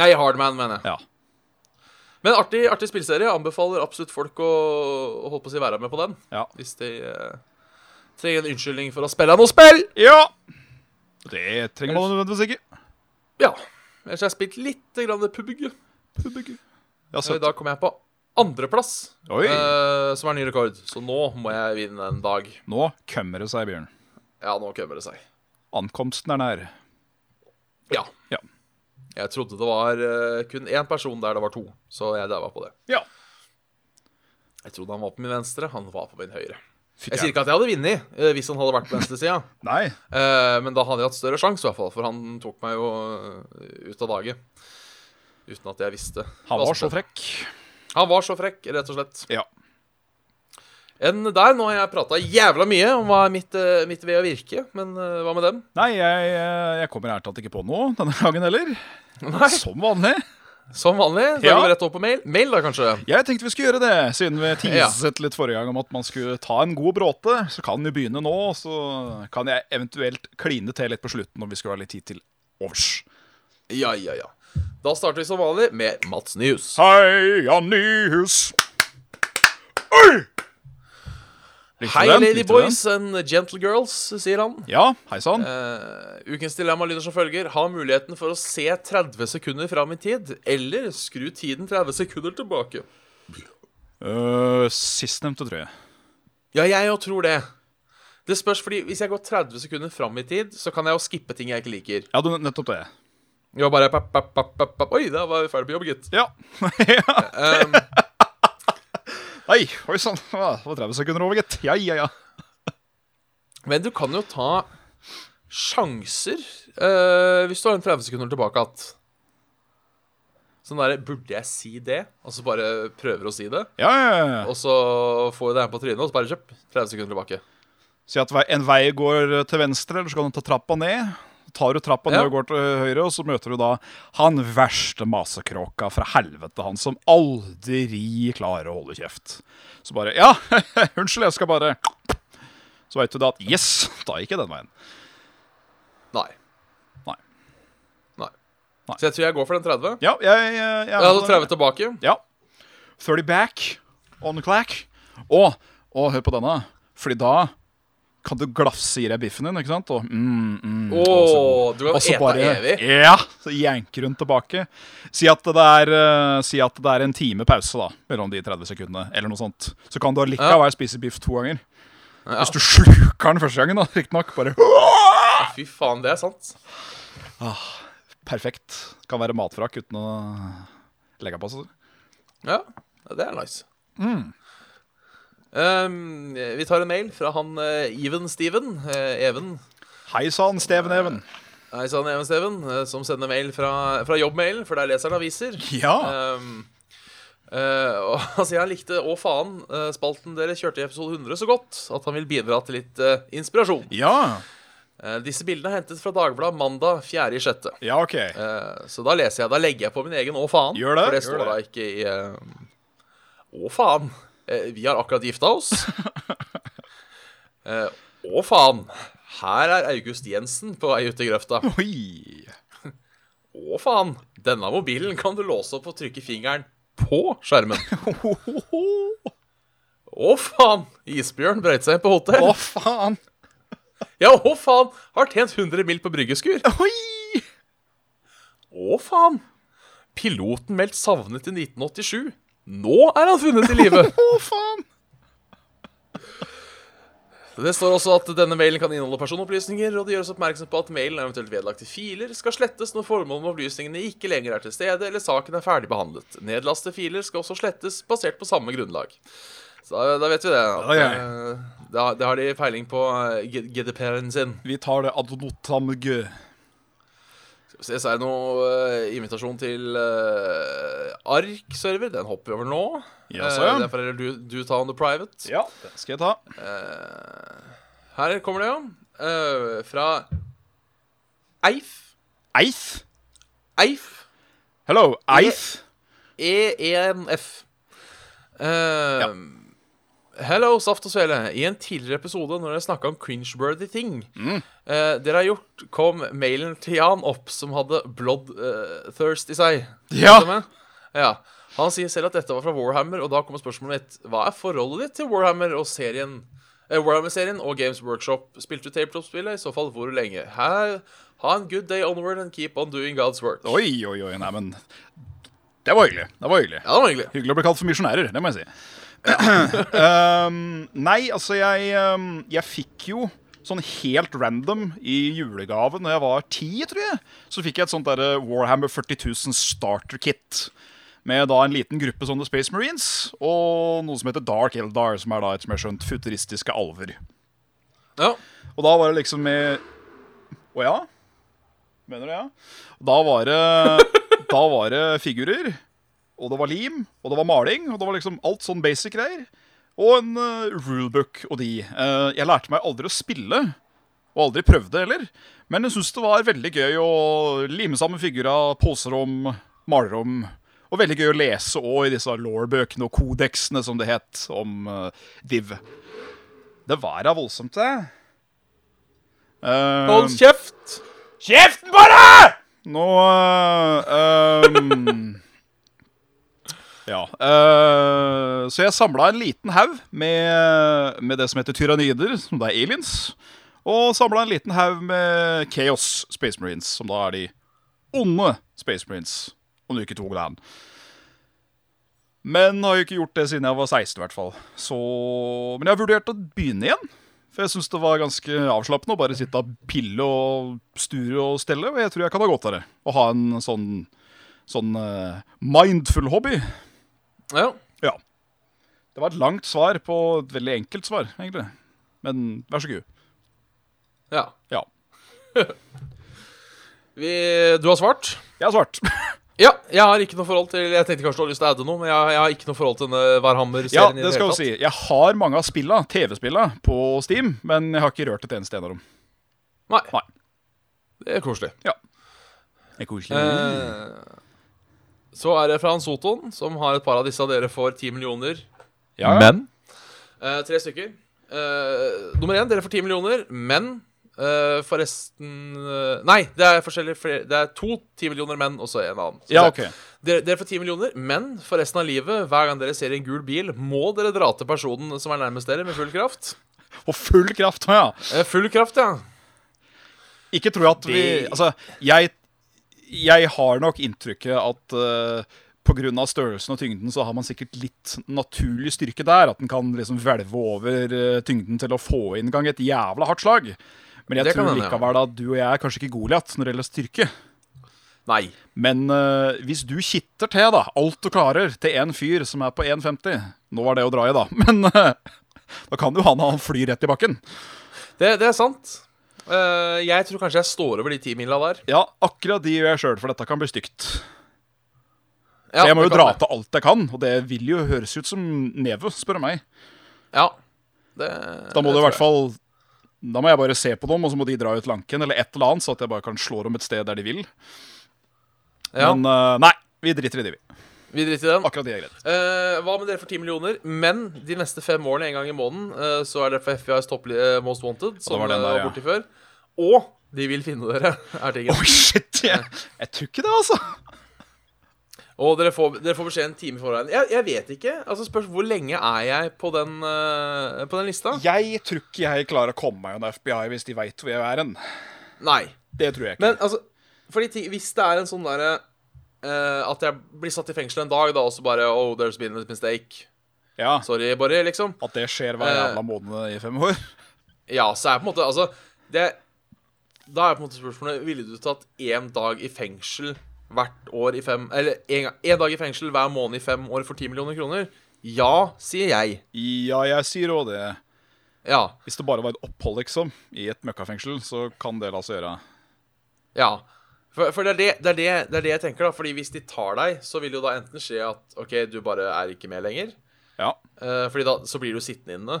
[SPEAKER 2] Nei, Hardman, mener jeg.
[SPEAKER 3] Ja.
[SPEAKER 2] Men artig, artig spillserie. Anbefaler absolutt folk å, å holde på å si være med på den.
[SPEAKER 3] Ja.
[SPEAKER 2] Hvis de eh, trenger en unnskyldning for å spille noe spill.
[SPEAKER 3] ja. Det trenger man nødvendigvis ikke.
[SPEAKER 2] Ja. Ellers har jeg spilt litt grann pubg.
[SPEAKER 3] Ja,
[SPEAKER 2] Så
[SPEAKER 3] søtt.
[SPEAKER 2] i dag kom jeg på andreplass,
[SPEAKER 3] Oi.
[SPEAKER 2] eh, som er ny rekord. Så nå må jeg vinne en dag.
[SPEAKER 3] Nå kommer det seg, Bjørn.
[SPEAKER 2] Ja, nå kømmer det seg.
[SPEAKER 3] Ankomsten er nær.
[SPEAKER 2] Ja.
[SPEAKER 3] Ja.
[SPEAKER 2] Jeg trodde det var eh, kun én person der det var to, så jeg daua på det.
[SPEAKER 3] Ja.
[SPEAKER 2] Jeg trodde han var på min venstre, han var på min høyre.
[SPEAKER 3] Fytti
[SPEAKER 2] Jeg sier ikke at jeg hadde vunnet eh, hvis han hadde vært på venstresida,
[SPEAKER 3] Nei.
[SPEAKER 2] uh, men da hadde jeg hatt større sjanse, i hvert fall, for han tok meg jo eh, ut av daget. Uten at jeg visste.
[SPEAKER 3] Han
[SPEAKER 2] hva
[SPEAKER 3] var
[SPEAKER 2] som
[SPEAKER 3] så
[SPEAKER 2] skjedde.
[SPEAKER 3] frekk.
[SPEAKER 2] Han var så frekk, rett og slett.
[SPEAKER 3] Ja.
[SPEAKER 2] Enn der, nå har jeg prata jævla mye om hva er mitt, eh, mitt ved å virke, men eh, hva med dem?
[SPEAKER 3] Nei, jeg, eh, jeg kommer ærlig talt ikke på noe denne gangen heller.
[SPEAKER 2] Nei,
[SPEAKER 3] Som vanlig.
[SPEAKER 2] Som vanlig, så
[SPEAKER 3] Ja.
[SPEAKER 2] går vi rett over på mail. Mail, da, kanskje?
[SPEAKER 3] Jeg tenkte vi skulle gjøre det, siden vi teaset litt forrige gang om at man skulle ta en god bråte. Så kan vi begynne nå, og så kan jeg eventuelt kline til litt på slutten om vi skulle ha litt tid til overs.
[SPEAKER 2] Ja, ja, ja. Da starter vi som vanlig med Mats News.
[SPEAKER 3] Heia Nyhus! Oi! Likte
[SPEAKER 2] Hei,
[SPEAKER 3] du den? Likte
[SPEAKER 2] lady
[SPEAKER 3] du
[SPEAKER 2] boys and gentle girls, sier han.
[SPEAKER 3] den? Ja, hei sann.
[SPEAKER 2] Eh, ukens dilemma lyder som følger. Ha muligheten for å se 30 sekunder fram i tid, eller skru tiden 30 sekunder tilbake.
[SPEAKER 3] Uh, Sistnevnte, tror jeg.
[SPEAKER 2] Ja, jeg òg tror det. Det spørs, fordi Hvis jeg går 30 sekunder fram i tid, så kan jeg jo skippe ting jeg ikke liker.
[SPEAKER 3] Ja, du, nettopp det.
[SPEAKER 2] Jeg bare papp, papp, papp, papp, papp. Oi, da var vi ferdig på jobb, gitt.
[SPEAKER 3] Ja.
[SPEAKER 2] Um,
[SPEAKER 3] Nei, oi sann. Ah, Det var 30 sekunder over, gitt. Ja, ja, ja.
[SPEAKER 2] Men du kan jo ta sjanser eh, hvis du har en 30 sekunder tilbake igjen. Sånn derre Burde jeg si det? Og så bare prøver å si det.
[SPEAKER 3] Ja, ja, ja.
[SPEAKER 2] Og så får du det her på trynet, og så bare kjøp 30 sekunder tilbake.
[SPEAKER 3] Si at vei- en vei går eh, til venstre, eller så kan du ta trappa ned. Tar du trappa
[SPEAKER 2] Ja.
[SPEAKER 3] ned og går til høyre, og så møter du da han verste masekråka fra helvete, han som aldri klarer å holde kjeft. Så bare Ja, unnskyld, jeg skal bare Så veit du da at Yes, da gikk jeg den veien.
[SPEAKER 2] Nei.
[SPEAKER 3] Nei.
[SPEAKER 2] Nei.
[SPEAKER 3] Nei.
[SPEAKER 2] Så jeg tror jeg går for den 30.
[SPEAKER 3] Ja, jeg, jeg, jeg
[SPEAKER 2] Jeg hadde 30 tilbake.
[SPEAKER 3] Ja. 30 back on clack. Og, og hør på denne, Fordi da kan du glafse i deg biffen din, ikke sant? Og mm, mm,
[SPEAKER 2] Å,
[SPEAKER 3] og så-
[SPEAKER 2] du kan
[SPEAKER 3] Og så
[SPEAKER 2] ete
[SPEAKER 3] bare
[SPEAKER 2] evig.
[SPEAKER 3] Ja, så jenker hun tilbake. Si at, det er, eh, si at det er en time pause da mellom de 30 sekundene, eller noe sånt. Så kan du allikevel spise biff to ganger. Hvis du sluker den første gangen, da, riktignok. Bare
[SPEAKER 2] Fy faen, det er sant.
[SPEAKER 3] perfekt. Kan være matfrakk uten å legge på seg.
[SPEAKER 2] Ja, det er nice.
[SPEAKER 3] Mm.
[SPEAKER 2] Um, vi tar en mail fra han eh, Even Steven. eh, Even.
[SPEAKER 3] Hei sann, Steven-Even.
[SPEAKER 2] Hei sann, Even Steven, eh, som sender mail fra, fra jobbmailen, for der leser han aviser.
[SPEAKER 3] Ja.
[SPEAKER 2] Ehm, eh, og han sier han likte Å faen, eh, spalten dere kjørte i episode 100 så godt, at han vil bidra til litt eh, inspirasjon.
[SPEAKER 3] Ja,
[SPEAKER 2] Eh, disse bildene er hentet fra Dagbladet mandag 4.6.
[SPEAKER 3] ja OK.
[SPEAKER 2] Uh, så da leser jeg, da legger jeg på min egen Å faen,
[SPEAKER 3] Gjør det,
[SPEAKER 2] for det
[SPEAKER 3] gjør
[SPEAKER 2] står
[SPEAKER 3] det.
[SPEAKER 2] da ikke i eh, Å faen, eh, vi har akkurat gifta oss. Eh, Å faen, her er August Jensen på vei ut i grøfta.
[SPEAKER 3] Oi.
[SPEAKER 2] Å faen, denne mobilen kan du låse opp og trykke fingeren på skjermen. Å faen, isbjørn brøyt seg inn på hotell.
[SPEAKER 3] Å, faen!
[SPEAKER 2] Ja, å faen, har tjent 100 mil på bryggeskur.
[SPEAKER 3] Oi!
[SPEAKER 2] Å faen, piloten meldt savnet i 1987. Nå er han funnet i live.
[SPEAKER 3] Å, faen!
[SPEAKER 2] Det står også at denne mailen kan inneholde personopplysninger, og det gjøres oppmerksom på at mailen er eventuelt vedlagt til filer, skal slettes når formålet med opplysningene ikke lenger er til stede, eller saken er ferdig behandlet. Nedlaste filer skal også slettes basert på samme grunnlag. Så da, da vet vi det. at,
[SPEAKER 3] Ja, ja.
[SPEAKER 2] eh, Da, da har de peiling på eh, G- GDP-en sin.
[SPEAKER 3] Vi tar det ad notam gø.
[SPEAKER 2] Eh, Skal vi se, så er det noe eh, invitasjon til eh, ARK-server. Den hopper vi over nå.
[SPEAKER 3] Jaså,
[SPEAKER 2] Eh,
[SPEAKER 3] ja.
[SPEAKER 2] Den forteller du, du ta on the private. Eh,
[SPEAKER 3] Ja, den skal jeg ta.
[SPEAKER 2] Her kommer det, jo. Eh, fra Eif.
[SPEAKER 3] Eith.
[SPEAKER 2] Eif.
[SPEAKER 3] Hello,
[SPEAKER 2] E
[SPEAKER 3] Eith.
[SPEAKER 2] E-E-N-F. Eh, Hello, Saft og Svele. I en tidligere episode når dere snakka om cringeworthy ting
[SPEAKER 3] Mm.
[SPEAKER 2] eh, dere har gjort, kom mailen til Jan opp som hadde bloodthirst i seg.
[SPEAKER 3] Ja.
[SPEAKER 2] Stemmer? ja. Han sier selv at dette var fra Warhammer, og da kommer spørsmålet mitt. Hva er forholdet ditt til Warhammer og serien? Eh, Warhammer-serien og Games Workshop. Spilte du tabletop-spillet? I så fall hvor lenge? Hæ? Ha en good day onward and keep on doing God's work.
[SPEAKER 3] Oi, oi, oi. Nei, men Det var hyggelig. Det var hyggelig.
[SPEAKER 2] Ja, det var hyggelig.
[SPEAKER 3] Hyggelig å bli kalt for misjonærer, det må jeg si. um, nei, altså jeg, um, jeg fikk jo sånn helt random i julegave når jeg var ti, tror jeg. Så fikk jeg et sånt der eh, Warhammer 40 000 starter kit. Med da en liten gruppe sånne Space Marines og noe som heter Dark Eldar, som er da et som jeg har skjønt futuristiske alver.
[SPEAKER 2] Ja.
[SPEAKER 3] Og da var det liksom med Å ja? Mener du ja? Da var det Da var det figurer, og det var lim, og det var maling, og det var liksom alt sånn basic greier. Og en eh, rulebook og de. Eh, jeg lærte meg aldri å spille, og aldri prøvde heller. Men jeg syns det var veldig gøy å lime sammen figurer, poser om, maler om. Og veldig gøy å lese òg i disse law-bøkene og kodeksene, som det het, om eh, div. Det var da voldsomt, det. Eh,
[SPEAKER 2] Hold kjeft!
[SPEAKER 3] Kjeften på deg! Nå øh, øhm, Ja. øh, så jeg samla en liten haug med, med det som heter tyrannider, som da er aliens. Og samla en liten haug med Chaos Space Marines, som da er de onde Space Marines. Om du ikke tok den. Men har jo ikke gjort det siden jeg var 16, i hvert fall. Så, men jeg har vurdert å begynne igjen. For jeg syns det var ganske avslappende å bare sitte og pille og sture og stelle. Og jeg tror jeg kan ha godt av det. Å ha en sånn, sånn eh, mindful hobby.
[SPEAKER 2] Ja.
[SPEAKER 3] Ja. Det var et langt svar på et veldig enkelt svar, egentlig. Men vær så god.
[SPEAKER 2] ja.
[SPEAKER 3] Ja.
[SPEAKER 2] Vi, du har svart?
[SPEAKER 3] Jeg har svart.
[SPEAKER 2] Ja, jeg har ikke noe forhold til Jeg tenkte kanskje du hadde lyst til å adde noe, men jeg, jeg har ikke noe forhold til denne
[SPEAKER 3] ja,
[SPEAKER 2] Warhammer-serien. i
[SPEAKER 3] det skal
[SPEAKER 2] hele
[SPEAKER 3] vi si. Jeg har mange av spilla, TV-spilla, på Steam, men jeg har ikke rørt et eneste en av dem.
[SPEAKER 2] tatt. Nei,
[SPEAKER 3] Nei.
[SPEAKER 2] det er koselig.
[SPEAKER 3] Det er koselig.
[SPEAKER 2] Eh, så er det fra Hans Soton, som har et par av disse av dere for 10 millioner.
[SPEAKER 3] ja, ja.
[SPEAKER 1] Men
[SPEAKER 2] Eh, tre stykker. Eh, nummer én, dere får 10 millioner, men eh, forresten eh, Nei, det er forskjellige flere- Det er to 10 millioner menn og så en annen. Så
[SPEAKER 3] ja,
[SPEAKER 2] det-
[SPEAKER 3] ok.
[SPEAKER 2] Dere, dere får 10 millioner, men for resten av livet, hver gang dere ser en gul bil, må dere dra til personen som er nærmest dere, med full kraft.
[SPEAKER 3] Og full kraft, ja.
[SPEAKER 2] Eh, full kraft, ja.
[SPEAKER 3] Ikke tror jeg at vi
[SPEAKER 2] Det-
[SPEAKER 3] Altså, jeg, jeg har nok inntrykket at eh, på grunn pga. størrelsen og tyngden så har man sikkert litt naturlig styrke der. At den kan liksom hvelve over eh, tyngden til å få inn gang et jævla hardt slag. Men jeg
[SPEAKER 2] Det kan
[SPEAKER 3] tror
[SPEAKER 2] hende, ja.
[SPEAKER 3] likevel at du og jeg er kanskje ikke Goliat når det gjelder styrke.
[SPEAKER 2] Nei.
[SPEAKER 3] Men eh, hvis du kitter til da, alt du klarer, til en fyr som er på 1,50 Nå var det å dra i, da. Men eh, da kan jo han han fly rett i bakken.
[SPEAKER 2] Det, det er sant. Eh, jeg tror kanskje jeg står over de 10 mila der.
[SPEAKER 3] Ja, akkurat de gjør jeg sjøl, for dette kan bli stygt.
[SPEAKER 2] Ja,
[SPEAKER 3] jeg må jo
[SPEAKER 2] det kan
[SPEAKER 3] dra
[SPEAKER 2] det.
[SPEAKER 3] til alt jeg kan, og det vil jo høres ut som neve, spør du meg.
[SPEAKER 2] Ja. Det,
[SPEAKER 3] Da må
[SPEAKER 2] det
[SPEAKER 3] du i
[SPEAKER 2] tror
[SPEAKER 3] hvert fall Da må jeg bare se på dem, og så må de dra ut lanken eller et eller annet, så at jeg bare kan slå dem et sted der de vil.
[SPEAKER 2] jeg. ja,
[SPEAKER 3] Men eh, nei, vi driter i de, vi.
[SPEAKER 2] Vi driter i den.
[SPEAKER 3] Akkurat de er greit.
[SPEAKER 2] Eh, hva med dere for 10 millioner? Men de neste fem årene, en gang i måneden, eh, så er dere for FBIs toppli eh, Most Wanted, som
[SPEAKER 3] var
[SPEAKER 2] var,
[SPEAKER 3] den der,
[SPEAKER 2] var
[SPEAKER 3] ja.
[SPEAKER 2] borti før. Og de vil finne dere, er tingen.
[SPEAKER 3] Oi, shit! Jeg, jeg tror ikke det, altså.
[SPEAKER 2] Og dere får, dere får beskjed en time i forveien. Jeg, jeg vet ikke. altså spørs Hvor lenge er jeg på den, eh, på den lista?
[SPEAKER 3] Jeg tror ikke jeg klarer å komme meg gjennom FBI hvis de veit hvor jeg er hen.
[SPEAKER 2] Nei.
[SPEAKER 3] Det tror jeg ikke.
[SPEAKER 2] Men altså fordi ting, Hvis det er en sånn derre eh, At jeg blir satt i fengsel en dag, da, og så bare Oh, there's been a mistake.
[SPEAKER 3] ja,
[SPEAKER 2] Sorry, Borre, liksom.
[SPEAKER 3] At det skjer hver
[SPEAKER 2] Eh.
[SPEAKER 3] jævla måned i fem år.
[SPEAKER 2] Ja, så er på en måte Altså, det Da er på en måte spørsmålet Ville du tatt én dag i fengsel hvert år i fem Eller én gang- én dag i fengsel hver måned i fem år for 10 millioner kroner? Ja, sier jeg.
[SPEAKER 3] Ja, jeg sier òg det.
[SPEAKER 2] Ja.
[SPEAKER 3] Hvis det bare var et opphold, liksom, i et møkkafengsel, så kan det la seg gjøre.
[SPEAKER 2] Ja. For, for det, er det, det, er det, det er det jeg tenker, da. Fordi hvis de tar deg, så vil jo da enten skje at OK, du bare er ikke med lenger.
[SPEAKER 3] Ja.
[SPEAKER 2] Eh, fordi da så blir du sittende inne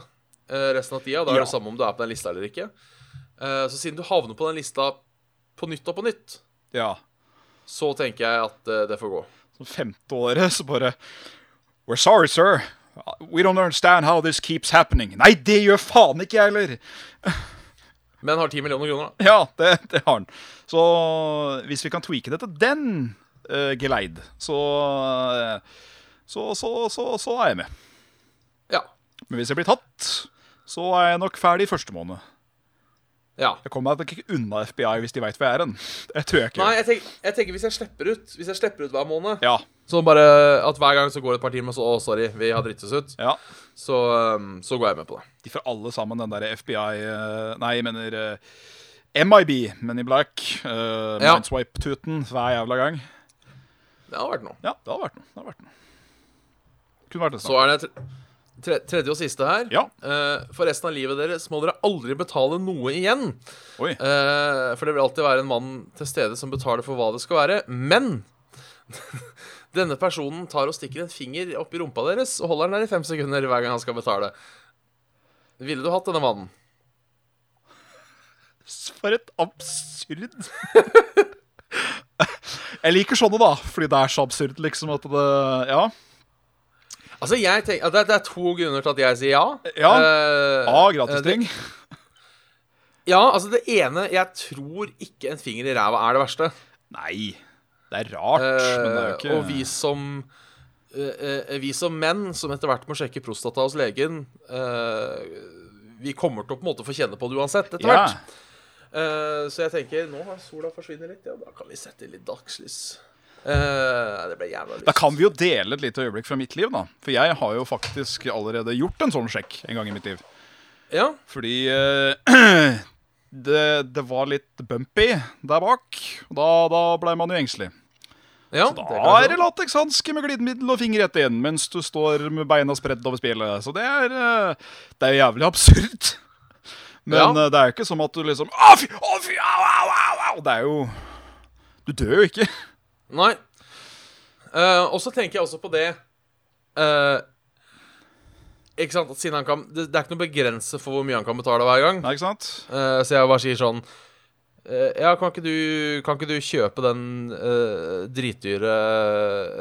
[SPEAKER 2] eh, resten av tida. Da er
[SPEAKER 3] Ja.
[SPEAKER 2] det samme om du er på den lista eller ikke. Eh, så siden du havner på den lista på nytt og på nytt,
[SPEAKER 3] Ja.
[SPEAKER 2] så tenker jeg at eh, det får gå.
[SPEAKER 3] Så femte året så bare We're sorry, sir. We don't understand how this keeps happening. Nei, det gjør faen ikke jeg heller!
[SPEAKER 2] Men har 10 millioner kroner, da.
[SPEAKER 3] Ja, det, det har han. Så hvis vi kan tweake det til den eh, geleid, så, eh, så, så, så, så er jeg med.
[SPEAKER 2] Ja.
[SPEAKER 3] Men hvis jeg blir tatt, så er jeg nok ferdig første måned.
[SPEAKER 2] ja.
[SPEAKER 3] Jeg kommer meg nok ikke unna FBI hvis de veit hvor jeg er hen. Det tror jeg ikke.
[SPEAKER 2] Nei, jeg tenker, jeg tenker hvis jeg slipper ut Hvis jeg slipper ut hver måned
[SPEAKER 3] Ja,
[SPEAKER 2] Så bare at hver gang så går det et par timer, så å, sorry, vi har dritt oss ut.
[SPEAKER 3] ja.
[SPEAKER 2] Så, um, så går jeg med på det.
[SPEAKER 3] De får alle sammen den der FBI eh, Nei, jeg mener eh, MIB, Men i Black. Uh,
[SPEAKER 2] Ja.
[SPEAKER 3] Mindswipe-tuten hver jævla gang.
[SPEAKER 2] Det har vært noe.
[SPEAKER 3] Ja, det har vært noe. Det har vært noe. Kunne vært det
[SPEAKER 2] Så
[SPEAKER 3] snart.
[SPEAKER 2] er det tre, tre, tredje og siste her.
[SPEAKER 3] Ja.
[SPEAKER 2] Eh, for resten av livet deres må dere aldri betale noe igjen.
[SPEAKER 3] Oi.
[SPEAKER 2] Eh, for det vil alltid være en mann til stede som betaler for hva det skal være. Men denne personen tar og stikker en finger opp i rumpa deres og holder den der i fem sekunder hver gang han skal betale. Ville du hatt denne mannen?
[SPEAKER 3] For et absurd Jeg liker sånne, da, fordi det er så absurd, liksom, at det Ja.
[SPEAKER 2] Altså, jeg tenker, det, er, det er to grunner til at jeg sier ja.
[SPEAKER 3] Ja. A,
[SPEAKER 2] Eh, eh, det-
[SPEAKER 3] gratisdring.
[SPEAKER 2] Ja, altså det ene Jeg tror ikke en finger i ræva er det verste.
[SPEAKER 3] Nei. Det er rart, men det er jo
[SPEAKER 2] Eh,
[SPEAKER 3] ikke
[SPEAKER 2] Og vi som eh, eh, Vi som menn som etter hvert må sjekke prostata hos legen eh, Vi kommer til å på en måte få kjenne på det uansett etter
[SPEAKER 3] ja.
[SPEAKER 2] hvert. Eh, så jeg tenker nå har sola forsvinner litt, ja, da kan vi sette litt dagslys. Eh, det ble jævla lyst.
[SPEAKER 3] Da kan vi jo dele et lite øyeblikk fra mitt liv, da. For jeg har jo faktisk allerede gjort en sånn sjekk en gang i mitt liv.
[SPEAKER 2] Ja,
[SPEAKER 3] Fordi eh, det, det var litt bumpy der bak. Og da, da blei man jo engstelig.
[SPEAKER 2] ja det kan
[SPEAKER 3] Da
[SPEAKER 2] jeg
[SPEAKER 3] er det
[SPEAKER 2] skjønne.
[SPEAKER 3] latekshanske med glidemiddel og finger rett inn mens du står med beina spredd over spillet. Så det er eh, Det er jævlig absurd. Men
[SPEAKER 2] Ja.
[SPEAKER 3] eh, det er jo ikke som at du liksom Å, fy! Å, fy! Au, au, au! au! Det er jo Du dør jo ikke.
[SPEAKER 2] Nei. Eh, og så tenker jeg også på det eh, Ikke sant, at siden han kan det, det er ikke noe begrense for hvor mye han kan betale hver gang.
[SPEAKER 3] Nei, ikke sant?
[SPEAKER 2] Eh, så jeg bare sier sånn eh, Ja, kan ikke du, kan ikke du kjøpe den eh, dritdyre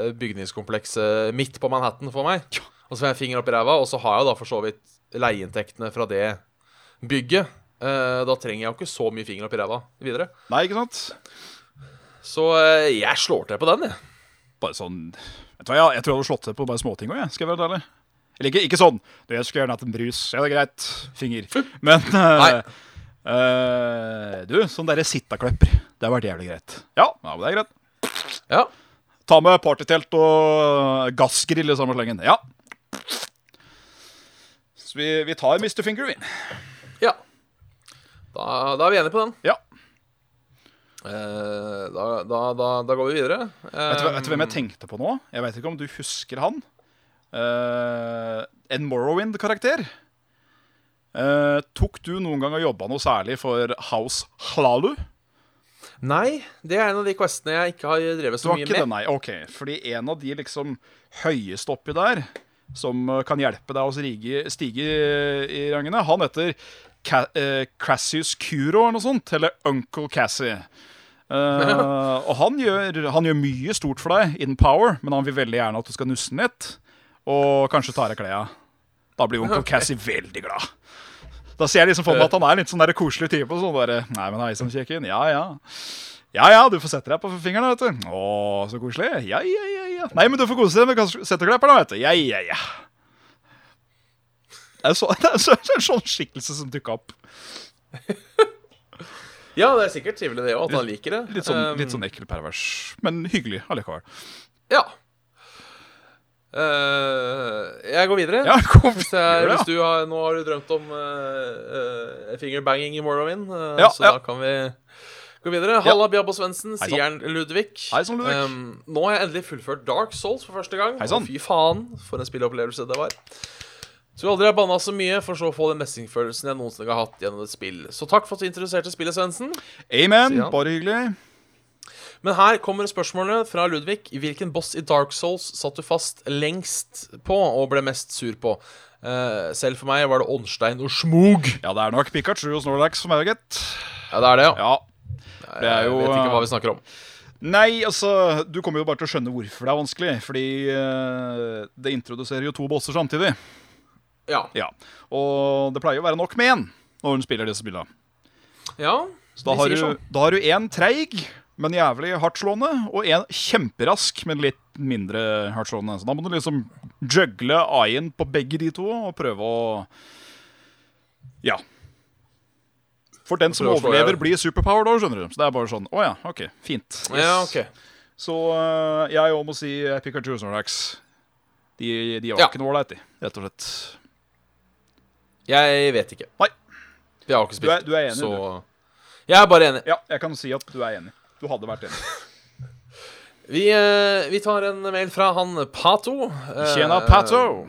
[SPEAKER 2] eh, bygningskomplekset midt på Manhattan for meg?
[SPEAKER 3] Ja.
[SPEAKER 2] Og så får jeg en finger opp i ræva, og så har jeg da for så vidt leieinntektene fra det bygget. Eh, da trenger jeg jo ikke så mye finger opp i ræva videre.
[SPEAKER 3] Nei, ikke sant?
[SPEAKER 2] Så eh, jeg slår til på den, jeg.
[SPEAKER 3] Bare sånn Vet du hva, jeg, jeg tror jeg hadde slått til på bare småting òg, jeg. Skal jeg være helt ærlig. Eller ikke, ikke sånn. Du, jeg skulle gjerne hatt en brus. Ja, det er greit. Finger. Men eh, eh, Du, sånn derre sittakløpper. Det har vært jævlig greit. Ja, ja men det er greit.
[SPEAKER 2] Ja.
[SPEAKER 3] Ta med partytelt og gassgrill i samme slengen. Ja. Så vi, vi tar Mr. Finger, vi.
[SPEAKER 2] ja. Da, da er vi enige på den.
[SPEAKER 3] Ja.
[SPEAKER 2] Eh, da, da, da, da går vi videre.
[SPEAKER 3] Vet du, hva- vet du
[SPEAKER 2] Um,
[SPEAKER 3] hvem jeg tenkte på nå? Jeg vet ikke om du husker han. Eh, en Morrowind-karakter. Eh, tok du noen gang og jobba noe særlig for House Hlalu?
[SPEAKER 2] Eh, Nei, det er en av de questene jeg ikke har drevet
[SPEAKER 3] Det
[SPEAKER 2] så
[SPEAKER 3] var
[SPEAKER 2] mye
[SPEAKER 3] ikke det,
[SPEAKER 2] med.
[SPEAKER 3] nei. Ok, Fordi en av de liksom høyeste oppi der, som eh, kan hjelpe deg å stige, stige i rangene, han heter Ca eh, Cassius Curo eller noe sånt. Eller Uncle Cassie. Eh, og han gjør, han gjør mye stort for deg in power, men han vil veldig gjerne at du skal nusse den litt. Og kanskje ta av deg klærne. Da blir onkel Cassie veldig glad. Da ser jeg liksom for meg at han er litt sånn der koselig type. og Sånn der, Nei, men hei sann, kjekken. Ja, ja. Ja, ja, du får sette deg på fingeren, vet du. Å, så koselig. Ja, ja, ja. ja. Nei, men du får kose deg med kas- setteklepperen, vet du. Ja, ja, ja. Det er, så, det er så, en sånn skikkelse som dukka opp.
[SPEAKER 2] Ja, det er sikkert trivelig det òg, at han liker det.
[SPEAKER 3] Litt sånn,
[SPEAKER 2] Um,
[SPEAKER 3] litt sånn ekkel pervers, men hyggelig allikevel.
[SPEAKER 2] Ja. Eh, jeg går videre.
[SPEAKER 3] Ja, kom,
[SPEAKER 2] Hvis, jeg,
[SPEAKER 3] gjør det, ja.
[SPEAKER 2] hvis du har, nå har du drømt om eh, eh, fingerbanging i Morrowind, eh,
[SPEAKER 3] Ja,
[SPEAKER 2] så
[SPEAKER 3] ja.
[SPEAKER 2] da kan vi gå videre. Halla, Bjabbo Svendsen,
[SPEAKER 3] sann.
[SPEAKER 2] Sigern Ludvig.
[SPEAKER 3] Hei sann, Ludvig.
[SPEAKER 2] Um, nå har jeg endelig fullført Dark Souls for første gang.
[SPEAKER 3] Hei sann.
[SPEAKER 2] Og Fy faen, for en spillopplevelse det var. Tror aldri jeg banna så mye, for så å få den mestringsfølelsen jeg noensinne har hatt gjennom et spill. Så takk for at du introduserte spillet, Svendsen.
[SPEAKER 3] Amen.
[SPEAKER 2] Sier han.
[SPEAKER 3] Bare hyggelig.
[SPEAKER 2] Men her kommer spørsmålene fra Ludvig. Hvilken boss i Dark Souls satt du fast lengst på og ble mest sur på? Eh, selv for meg var det Ånstein og Smog.
[SPEAKER 3] Ja, det er nok Pikachu og Snorlax som er gitt.
[SPEAKER 2] Ja, det er det, ja.
[SPEAKER 3] Ja. Det er
[SPEAKER 2] Jeg
[SPEAKER 3] jo
[SPEAKER 2] vet ikke hva
[SPEAKER 3] eh,
[SPEAKER 2] vi snakker om.
[SPEAKER 3] Nei, altså, du kommer jo bare til å skjønne hvorfor det er vanskelig. Fordi eh, det introduserer jo to bosser samtidig.
[SPEAKER 2] Ja.
[SPEAKER 3] Ja. Og det pleier jo å være nok med én når hun spiller disse spillene.
[SPEAKER 2] ja
[SPEAKER 3] Så da
[SPEAKER 2] vi
[SPEAKER 3] har,
[SPEAKER 2] sier
[SPEAKER 3] du,
[SPEAKER 2] sånn.
[SPEAKER 3] da har du én treig, men jævlig hardtslående, og én kjemperask, men litt mindre hardtslående. Så da må du liksom jugle eye-en på begge de to og prøve å Ja. For den som
[SPEAKER 2] Prøve å slå i
[SPEAKER 3] overlever,
[SPEAKER 2] hjel.
[SPEAKER 3] blir superpower da, skjønner du. Så det er bare sånn Å ja, OK. Fint.
[SPEAKER 2] Ja,
[SPEAKER 3] Yes.
[SPEAKER 2] ok.
[SPEAKER 3] Så øh, jeg òg må si eh, Pikachu og Snorlax. De, de var
[SPEAKER 2] Ja.
[SPEAKER 3] ikke noe ålreit, de, rett og slett.
[SPEAKER 2] Jeg vet ikke.
[SPEAKER 3] Nei.
[SPEAKER 2] Jeg har ikke
[SPEAKER 3] Du er-
[SPEAKER 2] spilt,
[SPEAKER 3] du er enig,
[SPEAKER 2] så Jeg er bare enig.
[SPEAKER 3] Ja, jeg kan si at du er enig. Du hadde vært enig.
[SPEAKER 2] Vi, eh, vi tar en mail fra han Pato. Eh,
[SPEAKER 3] Tjena, Pato!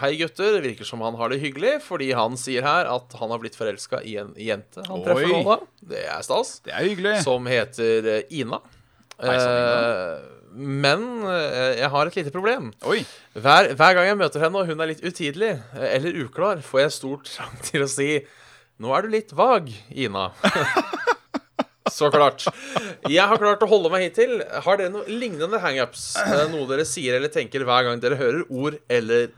[SPEAKER 2] Hei, gutter. Virker som han har det hyggelig, fordi han sier her at han har blitt forelska i en jente han treffer
[SPEAKER 3] Oi.
[SPEAKER 2] nå, da. Det er stas.
[SPEAKER 3] Det er hyggelig.
[SPEAKER 2] Som heter eh, Ina.
[SPEAKER 3] Hei, sann, Ina.
[SPEAKER 2] Eh, men eh, jeg har et lite problem.
[SPEAKER 3] Oi.
[SPEAKER 2] Hver, hver gang jeg møter henne og hun er litt utidelig eh, eller uklar, får jeg stor trang til å si Nå er du litt vag, Ina. Så klart. Jeg har klart å holde meg hittil. Har dere noen lignende hangups? Eh, Noe dere sier eller tenker hver gang dere hører ord eller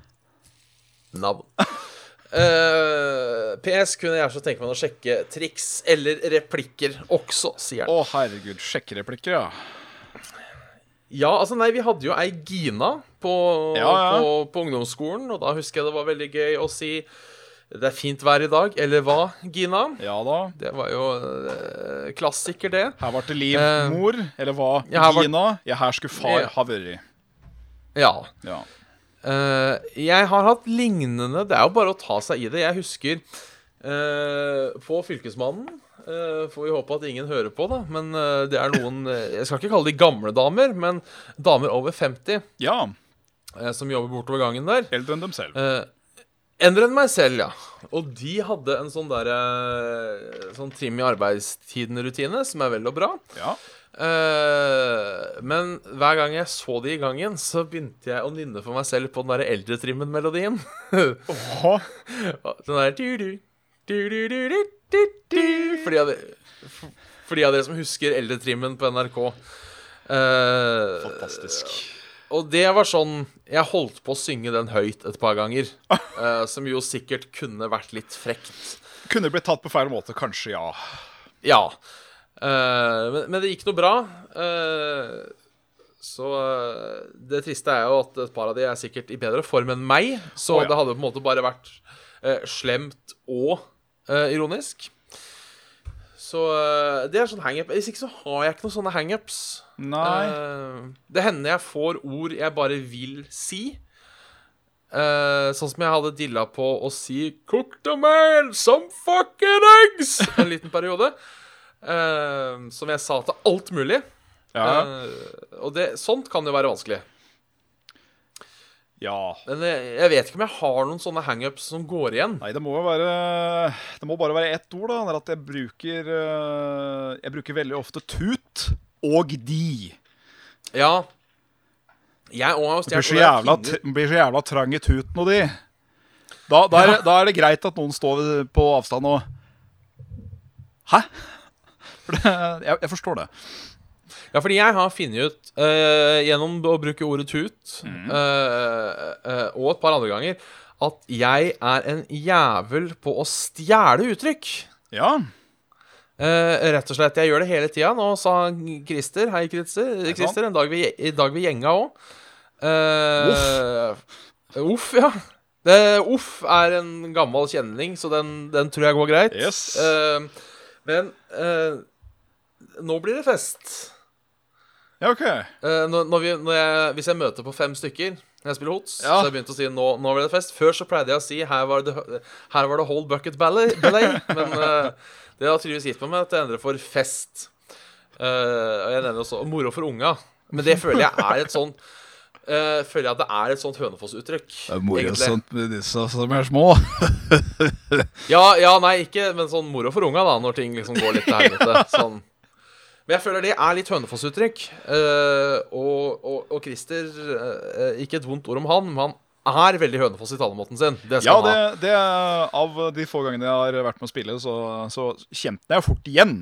[SPEAKER 2] navn? Eh, PS kunne jeg så tenke meg å sjekke triks eller replikker også, sier han.
[SPEAKER 3] Å, herregud. Sjekkereplikker, ja.
[SPEAKER 2] Ja, altså nei, vi hadde jo ei Gina på,
[SPEAKER 3] Ja, ja.
[SPEAKER 2] på, på ungdomsskolen, og da husker jeg det var veldig gøy å si det er fint vær i dag, eller hva, Gina?
[SPEAKER 3] Ja da.
[SPEAKER 2] Det var jo eh, klassiker, det.
[SPEAKER 3] Her ble det liv,
[SPEAKER 2] Eh,
[SPEAKER 3] mor. Eller hva?
[SPEAKER 2] ja, her var-
[SPEAKER 3] Gina. Ja, her skulle far
[SPEAKER 2] Ja.
[SPEAKER 3] ha vært.
[SPEAKER 2] Ja.
[SPEAKER 3] Ja.
[SPEAKER 2] Eh, jeg har hatt lignende Det er jo bare å ta seg i det. Jeg husker eh, på Fylkesmannen eh, Får vi håpe at ingen hører på, da. Men eh, det er noen eh, Jeg skal ikke kalle de gamle damer, men damer over 50
[SPEAKER 3] ja.
[SPEAKER 2] eh, som jobber bortover gangen der.
[SPEAKER 3] Eldre enn dem selv.
[SPEAKER 2] Eh, Endre enn meg selv, ja. Og de hadde en sånn der, eh, sånn trim i arbeidstiden-rutine, som er vel og bra.
[SPEAKER 3] Ja.
[SPEAKER 2] Eh, men hver gang jeg så de i gangen, så begynte jeg å nynne for meg selv på den der eldretrimmen-melodien.
[SPEAKER 3] Åh,
[SPEAKER 2] den Sånn der du-du, du-du-du-du, du-du. For de av dere- for- for de av dere som husker eldretrimmen på NRK. Eh,
[SPEAKER 3] Fantastisk.
[SPEAKER 2] og det var sånn Jeg holdt på å synge den høyt et par ganger. eh, som jo sikkert kunne vært litt frekt.
[SPEAKER 3] Kunne blitt tatt på feil måte, kanskje, ja.
[SPEAKER 2] Ja. Eh, men, men det gikk noe bra. Eh, så eh, det triste er jo at et par av de er sikkert i bedre form enn meg. Så
[SPEAKER 3] Å, ja.
[SPEAKER 2] det hadde på en måte bare vært eh, slemt og eh, ironisk. Så eh, det er sånn hangup. Hvis ikke så har jeg ikke noen sånne hangups.
[SPEAKER 3] Nei.
[SPEAKER 2] Eh, det hender jeg får ord jeg bare vil si. Eh, sånn som jeg hadde dilla på å si 'cooked a man some fucking eggs' en liten periode. Eh, som jeg sa til alt mulig.
[SPEAKER 3] Ja.
[SPEAKER 2] Eh, og det, sånt kan jo være vanskelig.
[SPEAKER 3] ja.
[SPEAKER 2] Men jeg, jeg vet ikke om jeg har noen sånne hangups som går igjen.
[SPEAKER 3] Nei, det må jo være Det må bare være ett ord, da. Det er at jeg bruker eh, Jeg bruker veldig ofte tut og de.
[SPEAKER 2] Ja. Jeg òg har jo
[SPEAKER 3] Det blir
[SPEAKER 2] stjålet
[SPEAKER 3] så jævla, tr- det blir så jævla trang i tuten og de. Da, da, er, det- da er det greit at noen står ved- på avstand og Hæ? For det, jeg, jeg forstår det.
[SPEAKER 2] Ja, fordi jeg har funnet ut eh, gjennom å bruke ordet tut eh, eh, og et par andre ganger at jeg er en jævel på å stjele uttrykk.
[SPEAKER 3] Ja.
[SPEAKER 2] Eh, rett og slett. Jeg gjør det hele tida. Nå sa Christer Hei, sånn. Christer. Christer en dag vi, I dag vi gjenga òg. Uff, ja. Det, uff er en gammel kjenning, så den, den tror jeg går greit.
[SPEAKER 3] Yes.
[SPEAKER 2] Eh, men eh, nå blir det fest.
[SPEAKER 3] ja, OK.
[SPEAKER 2] Eh, når, når vi, når jeg, hvis jeg møter på fem stykker når jeg spiller hots, så
[SPEAKER 3] Ja.
[SPEAKER 2] har jeg begynt å si nå, 'nå ble det fest'. Før så pleide jeg å si 'her var det, her var det whole bucket ballet, ballet'. Men eh, det har tydeligvis gitt meg med at jeg endrer for 'fest'. Eh, og jeg nevner også 'moro for unga'. Men det føler jeg er et sånn eh, føler jeg at det er et sånt Hønefoss-uttrykk. egentlig.
[SPEAKER 3] med disse som er små.
[SPEAKER 2] Ja, ja, nei, ikke Men sånn moro for unga, da, når ting liksom går litt til helvete. Sånn. Men jeg føler det er litt Hønefoss-uttrykk. Eh, og, og, og Christer eh, eh, Ikke et vondt ord om han, men han er veldig Hønefoss i talemåten sin. Det
[SPEAKER 3] Ja,
[SPEAKER 2] skal
[SPEAKER 3] det,
[SPEAKER 2] han ha.
[SPEAKER 3] det er- Av de få gangene jeg har vært med å spille, så, så kjente jeg fort igjen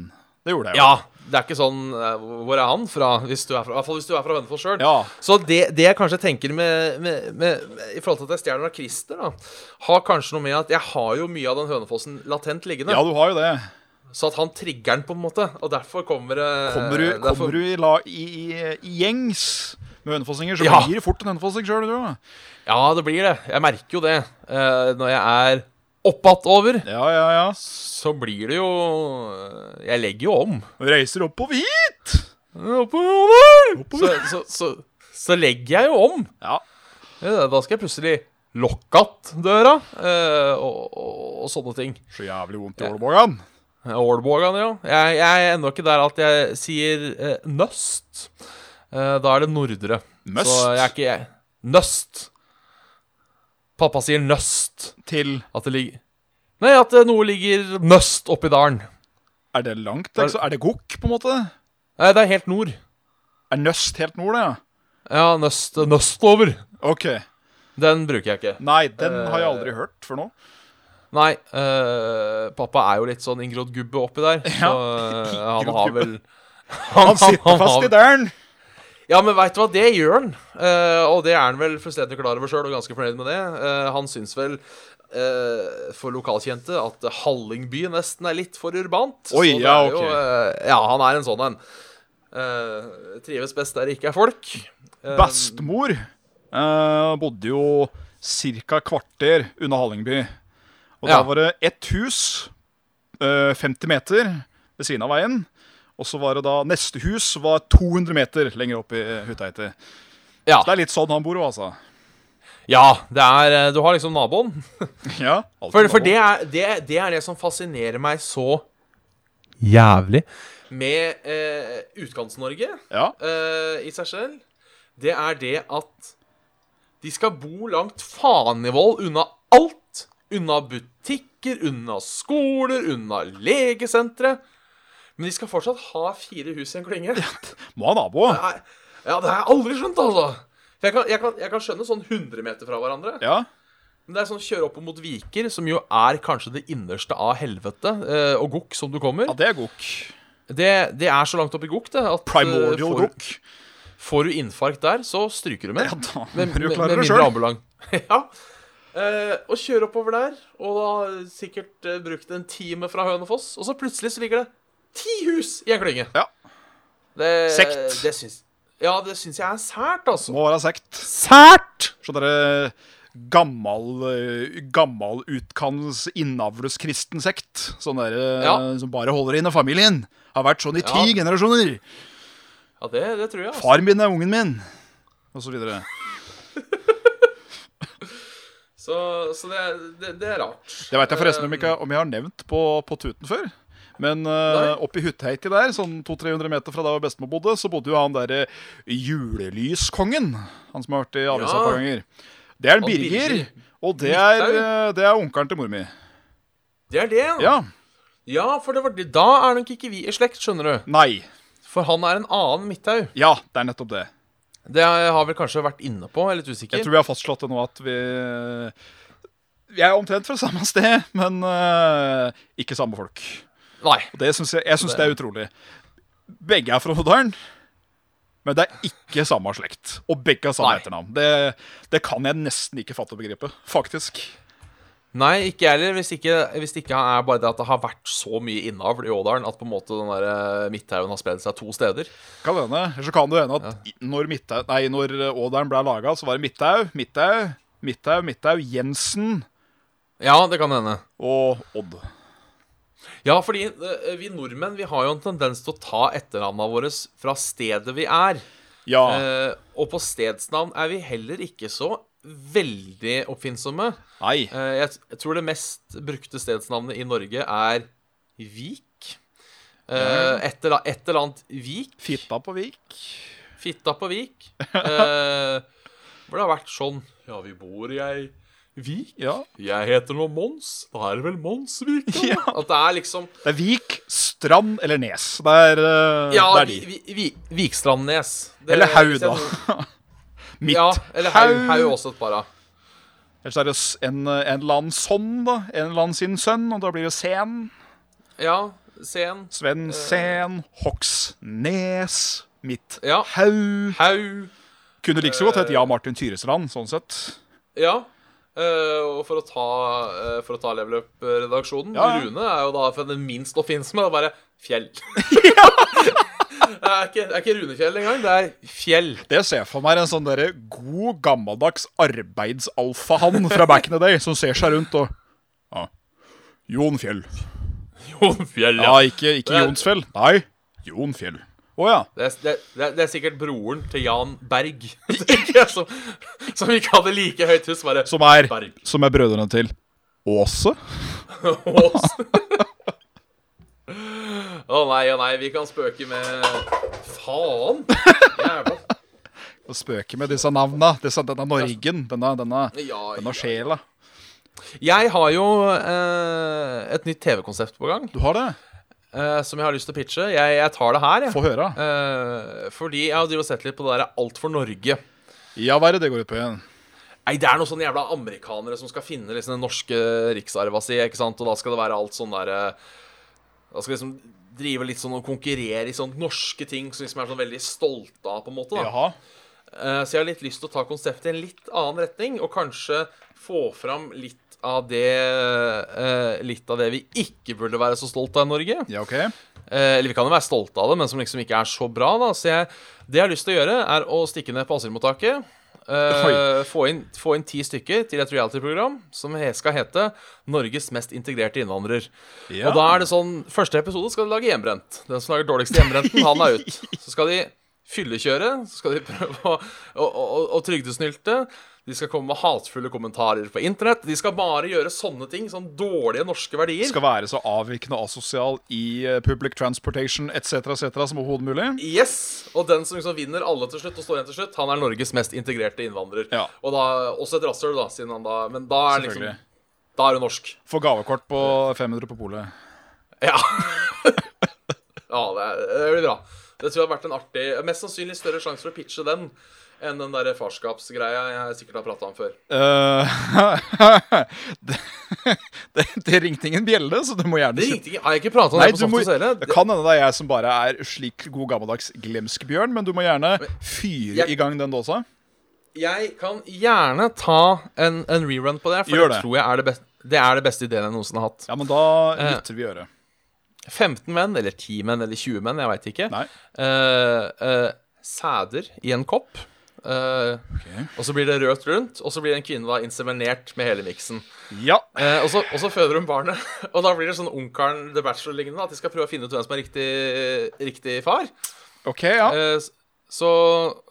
[SPEAKER 3] Det gjorde jeg jo.
[SPEAKER 2] Ja, det er ikke sånn eh, Hvor er han fra? Hvis du er fra, I hvert fall hvis du er fra Hønefoss sjøl.
[SPEAKER 3] Ja.
[SPEAKER 2] Så det, det jeg kanskje tenker med, med, med, i forhold til at jeg stjeler fra Christer, da, har kanskje noe med at jeg har jo mye av den Hønefossen latent liggende.
[SPEAKER 3] ja, du har jo det.
[SPEAKER 2] Så at han trigger den, på en måte. Og derfor kommer det
[SPEAKER 3] Kommer du,
[SPEAKER 2] derfor,
[SPEAKER 3] kommer du i, la, i, i, i gjengs med hønefossinger, så
[SPEAKER 2] Ja.
[SPEAKER 3] blir det fort en hønefossing sjøl, du.
[SPEAKER 2] Ja, det blir det. Jeg merker jo det. Eh, når jeg er oppatover,
[SPEAKER 3] Ja, ja, ja.
[SPEAKER 2] så blir det jo eh, Jeg legger jo om.
[SPEAKER 3] Reiser oppover hit!
[SPEAKER 2] Oppover! Så, så, så, så legger jeg jo om.
[SPEAKER 3] Ja.
[SPEAKER 2] Ja, Da skal jeg plutselig Lockout-døra eh, og, og, og sånne ting.
[SPEAKER 3] Så jævlig vondt i ålebågan.
[SPEAKER 2] Ålbågan, ja. Jeg, jeg er ennå ikke der at jeg sier eh, nøst. Eh, da er det nordre.
[SPEAKER 3] Must.
[SPEAKER 2] Så jeg er ikke jeg. Nøst. Pappa sier nøst.
[SPEAKER 3] Til
[SPEAKER 2] At det ligger Nei, at eh, noe ligger nøst oppi dalen.
[SPEAKER 3] Er det langt? Er, er det gokk, på en måte?
[SPEAKER 2] Nei, det er helt nord.
[SPEAKER 3] Er nøst helt nord, det? ja?
[SPEAKER 2] Ja, nøst, nøstover.
[SPEAKER 3] OK.
[SPEAKER 2] Den bruker jeg ikke.
[SPEAKER 3] Nei, den har jeg
[SPEAKER 2] Eh.
[SPEAKER 3] aldri hørt før nå.
[SPEAKER 2] Nei, eh, pappa er jo litt sånn Ingrod Gubbe oppi der, så eh, han
[SPEAKER 3] Ingrod
[SPEAKER 2] har
[SPEAKER 3] Gubbe.
[SPEAKER 2] vel han,
[SPEAKER 3] Han sitter fast i døren!
[SPEAKER 2] Ja, men veit du hva, det gjør han. Eh, og det er han vel fullstendig klar over sjøl, og ganske fornøyd med det. Eh, han syns vel, eh, for lokalkjente, at Hallingby nesten er litt for urbant.
[SPEAKER 3] Oi,
[SPEAKER 2] det
[SPEAKER 3] ja,
[SPEAKER 2] er jo,
[SPEAKER 3] ok.
[SPEAKER 2] eh, ja, han er en sånn en. Eh, trives best der det ikke er folk. Eh,
[SPEAKER 3] Bestemor eh, bodde jo ca. kvarter unna Hallingby. Og
[SPEAKER 2] Ja.
[SPEAKER 3] da var det ett hus, eh, 50 meter ved siden av veien. Og så var det da neste hus var 200 meter lenger opp i Huteite.
[SPEAKER 2] Ja.
[SPEAKER 3] Så det er litt sånn han bor òg, altså.
[SPEAKER 2] ja, det er eh, Du har liksom naboen.
[SPEAKER 3] Ja,
[SPEAKER 2] For, for det, er, det, det er det som fascinerer meg så jævlig med eh, Utkants-Norge.
[SPEAKER 3] Ja,
[SPEAKER 2] eh, i seg selv, det er det at de skal bo langt fanevold unna alt. Unna butikker, unna skoler, unna legesentre. Men de skal fortsatt ha fire hus i en klynge.
[SPEAKER 3] må ha nabo.
[SPEAKER 2] Nei, Ja, det har jeg aldri skjønt, altså. For jeg kan, jeg, kan, jeg kan skjønne sånn 100 meter fra hverandre.
[SPEAKER 3] Ja.
[SPEAKER 2] Men det er sånn kjøre opp mot Viker, som jo er kanskje det innerste av helvete eh, og gokk som du kommer.
[SPEAKER 3] ja, det er gokk.
[SPEAKER 2] Det, det er så langt opp i gokk, det. At, eh,
[SPEAKER 3] Primordial
[SPEAKER 2] får-
[SPEAKER 3] gokk.
[SPEAKER 2] Får du infarkt der, så stryker du med.
[SPEAKER 3] Ja, da må
[SPEAKER 2] Med,
[SPEAKER 3] du
[SPEAKER 2] med,
[SPEAKER 3] klare
[SPEAKER 2] med
[SPEAKER 3] det
[SPEAKER 2] mindre
[SPEAKER 3] sjøl.
[SPEAKER 2] ambulant. ja. Eh, og kjøre oppover der, og da sikkert eh, brukt en time fra Hønefoss, og så plutselig så ligger det ti hus i en klynge.
[SPEAKER 3] Ja.
[SPEAKER 2] Det,
[SPEAKER 3] Sekt.
[SPEAKER 2] Det syns, ja, det syns jeg er sært, altså.
[SPEAKER 3] Må være sekt.
[SPEAKER 2] Sært!
[SPEAKER 3] Så dere gammal, eh, gammal utkants innavleskristen sekt. Sånn der, eh,
[SPEAKER 2] Ja.
[SPEAKER 3] som bare holder inne familien. Har vært sånn i ti
[SPEAKER 2] Ja.
[SPEAKER 3] generasjoner.
[SPEAKER 2] Ja, det, det tror jeg. Altså.
[SPEAKER 3] Far min er ungen min. Og så videre.
[SPEAKER 2] Så, så det, det, det er rart.
[SPEAKER 3] Det veit jeg forresten om, ikke,
[SPEAKER 2] Ehm.
[SPEAKER 3] om jeg har nevnt på, på Tuten før. Men uh, oppi Hutteiti der, sånn 200-300 meter fra der bestemor bodde, så bodde jo han derre julelyskongen. Han som har vært i avisa
[SPEAKER 2] Ja.
[SPEAKER 3] et par ganger. Det er en
[SPEAKER 2] Og
[SPEAKER 3] Birger.
[SPEAKER 2] Birger.
[SPEAKER 3] Og det er,
[SPEAKER 2] Midthaug.
[SPEAKER 3] eh, det er onkelen til mor mi.
[SPEAKER 2] Det er det,
[SPEAKER 3] Ja.
[SPEAKER 2] ja for det var, det- da er nok ikke vi i slekt, skjønner du.
[SPEAKER 3] Nei.
[SPEAKER 2] For han er en annen Midthaug.
[SPEAKER 3] Ja, det er nettopp det.
[SPEAKER 2] Det har vel kanskje vært inne på, jeg er litt usikker.
[SPEAKER 3] Jeg tror vi har fastslått det nå at vi Vi er omtrent fra samme sted, men eh, ikke samme folk.
[SPEAKER 2] Nei.
[SPEAKER 3] Og det synes jeg, jeg syns det er utrolig. Begge er fra Nodalen, men det er ikke samme slekt. Og begge har samme
[SPEAKER 2] Nei.
[SPEAKER 3] etternavn. Det, det kan jeg nesten ikke fatte og begripe, faktisk.
[SPEAKER 2] Nei, ikke jeg heller. Hvis, ikke- hvis det ikke er bare det at det har vært så mye innavl i Ådalen at på en måte den der eh, Midthaugen har spredd seg to steder.
[SPEAKER 3] Kan hende. Eller så kan det hende at når, Midtau, nei, når eh, Ådalen ble laga, så var det Midthaug, Midthaug, Midthaug, Midthaug, Jensen
[SPEAKER 2] Ja, det kan hende.
[SPEAKER 3] og Odd.
[SPEAKER 2] Ja, fordi eh, vi nordmenn vi har jo en tendens til å ta etternavna våre fra stedet vi er.
[SPEAKER 3] Ja.
[SPEAKER 2] Eh, og på stedsnavn er vi heller ikke så veldig oppfinnsomme.
[SPEAKER 3] Nei.
[SPEAKER 2] Eh, jeg, jeg tror det mest brukte stedsnavnet i Norge er Vik. Eh, et, eller, et eller annet Vik.
[SPEAKER 3] Fitta på Vik.
[SPEAKER 2] Fitta på Vik. Eh, hvor det har vært sånn Ja, vi bor i ei Vik.
[SPEAKER 3] Ja.
[SPEAKER 2] Jeg heter nå Mons. Da er det vel Monsvik, da?
[SPEAKER 3] Ja.
[SPEAKER 2] At det er liksom
[SPEAKER 3] Det er Vik, Strand eller Nes. Det er, eh,
[SPEAKER 2] Ja,
[SPEAKER 3] det er de.
[SPEAKER 2] vi, vi, vi, Vikstrandnes. Det-
[SPEAKER 3] Eller Haug,
[SPEAKER 2] hvis jeg-
[SPEAKER 3] da. Mitt.
[SPEAKER 2] Ja, eller Haug.
[SPEAKER 3] Haug.
[SPEAKER 2] Haug også et par av.
[SPEAKER 3] Ellers er det eh, s- en, en eller annen sånn, da. En eller annen sin sønn, og da blir det Sen.
[SPEAKER 2] Ja, Sen,
[SPEAKER 3] Sven Sen, Hoksnes, Mitt
[SPEAKER 2] Ja.
[SPEAKER 3] Haug
[SPEAKER 2] Haug
[SPEAKER 3] Kunne like så godt hett Ja Martin Tyrestrand, sånn sett.
[SPEAKER 2] Ja. eh, og for å ta, eh, for å ta Level Up-redaksjonen
[SPEAKER 3] Ja, ja.
[SPEAKER 2] Rune er jo da for den minst oppfinnsomme. Det er bare fjell. det, er ikke, det er ikke Runefjell engang. Det er fjell.
[SPEAKER 3] Det ser jeg for meg er en sånn derre god, gammeldags arbeidsalfahann fra back in the day, som ser seg rundt og ja. Jon Fjell.
[SPEAKER 2] Jon Fjell,
[SPEAKER 3] Ja, ikke, ikke
[SPEAKER 2] Det er-
[SPEAKER 3] Jonsfjell. Nei, Jon Fjell. Å ja.
[SPEAKER 2] Det er, det, er- det, er, det er sikkert broren til Jan Berg, tenker jeg, som, som ikke hadde like høyt hus. Bare
[SPEAKER 3] Som er,
[SPEAKER 2] Berg.
[SPEAKER 3] som er brødrene til Åse.
[SPEAKER 2] Ås. Å nei, å nei, vi kan spøke med Faen! Jævla
[SPEAKER 3] Og spøker med disse navna. Disse, denne Norgen. Denne, denne,
[SPEAKER 2] Ja,
[SPEAKER 3] denne sjela.
[SPEAKER 2] Jeg har jo eh, et nytt TV-konsept på gang
[SPEAKER 3] Du har det?
[SPEAKER 2] eh, som jeg har lyst til å pitche. Jeg, jeg tar det her, jeg.
[SPEAKER 3] Få høre.
[SPEAKER 2] Eh, fordi jeg har drevet og sett litt på det der Alt for Norge.
[SPEAKER 3] Ja, hva er det det går ut på igjen?
[SPEAKER 2] Nei, det er noen sånne jævla amerikanere som skal finne liksom, den norske riksarva si, ikke sant? Og da skal det være alt sånn derre Da skal liksom drive litt sånn og konkurrere i sånne norske ting som liksom er sånn veldig stolte av, på en måte. da.
[SPEAKER 3] Jaha.
[SPEAKER 2] Eh, Så jeg har litt lyst til å ta konseptet i en litt annen retning, og kanskje få fram litt av det eh, Litt av det vi ikke burde være så stolte av i Norge.
[SPEAKER 3] Ja, OK.
[SPEAKER 2] Eh, Eller vi kan jo være stolte av det, men som liksom ikke er så bra. da Så jeg, det jeg har lyst til å gjøre, er å stikke ned på asylmottaket. eh,
[SPEAKER 3] Oi.
[SPEAKER 2] få, inn, få inn ti stykker til et reality-program som he- skal hete 'Norges mest integrerte innvandrer'.
[SPEAKER 3] Ja.
[SPEAKER 2] Og da er det sånn Første episode skal de lage hjemmebrent. Den som lager dårligst hjemmebrenten, han er ut. Så skal de fyllekjøre. Så skal de prøve å, å, å, å trygdesnylte. De skal komme med hatefulle kommentarer på internett. De skal bare gjøre sånne ting. Sånn dårlige norske verdier.
[SPEAKER 3] Skal være så avvikende og asosial i eh, public transportation etc. etc. som overhodet mulig.
[SPEAKER 2] Yes! Og den som liksom vinner alle til slutt, og står igjen til slutt, han er Norges mest integrerte innvandrer.
[SPEAKER 3] Ja.
[SPEAKER 2] Og da, Også et rasshøl, da, siden han da Men da er, liksom,
[SPEAKER 3] Selvfølgelig.
[SPEAKER 2] da er du norsk.
[SPEAKER 3] Få gavekort på 500 på polet.
[SPEAKER 2] Ja. ja, det, er- det blir bra. Det tror jeg har vært en artig Mest sannsynlig større sjanse for å pitche den enn den der farskapsgreia jeg sikkert har prata om før.
[SPEAKER 3] Eh, det, det, det ringte ingen bjelle, så du må gjerne
[SPEAKER 2] Det ringte ikke Har jeg ikke prata om
[SPEAKER 3] Nei,
[SPEAKER 2] det på
[SPEAKER 3] du må,
[SPEAKER 2] Saftos hele?
[SPEAKER 3] det kan hende det er jeg som bare er slik god gammeldags glemsk bjørn, men du må gjerne fyre
[SPEAKER 2] Jeg-
[SPEAKER 3] i gang den dåsa.
[SPEAKER 2] Jeg kan gjerne ta en, en rerun på det, for
[SPEAKER 3] Gjør
[SPEAKER 2] det.
[SPEAKER 3] det.
[SPEAKER 2] tror jeg er det, best, det er det beste ideen jeg noensinne har hatt.
[SPEAKER 3] Ja, men da eh, lytter vi øret.
[SPEAKER 2] 15 menn, eller 10 menn, eller 20 menn, jeg veit ikke.
[SPEAKER 3] Nei.
[SPEAKER 2] Eh, eh, sæder i en kopp. Eh, Og så blir det rødt rundt, og så blir en kvinne da inseminert med hele miksen.
[SPEAKER 3] Ja.
[SPEAKER 2] Eh, og, så, og så føder hun barnet, og da blir det sånn Ungkaren The Bachelor-lignende. At de skal prøve å finne ut hvem som er riktig, riktig far.
[SPEAKER 3] OK, ja.
[SPEAKER 2] Eh, s- så,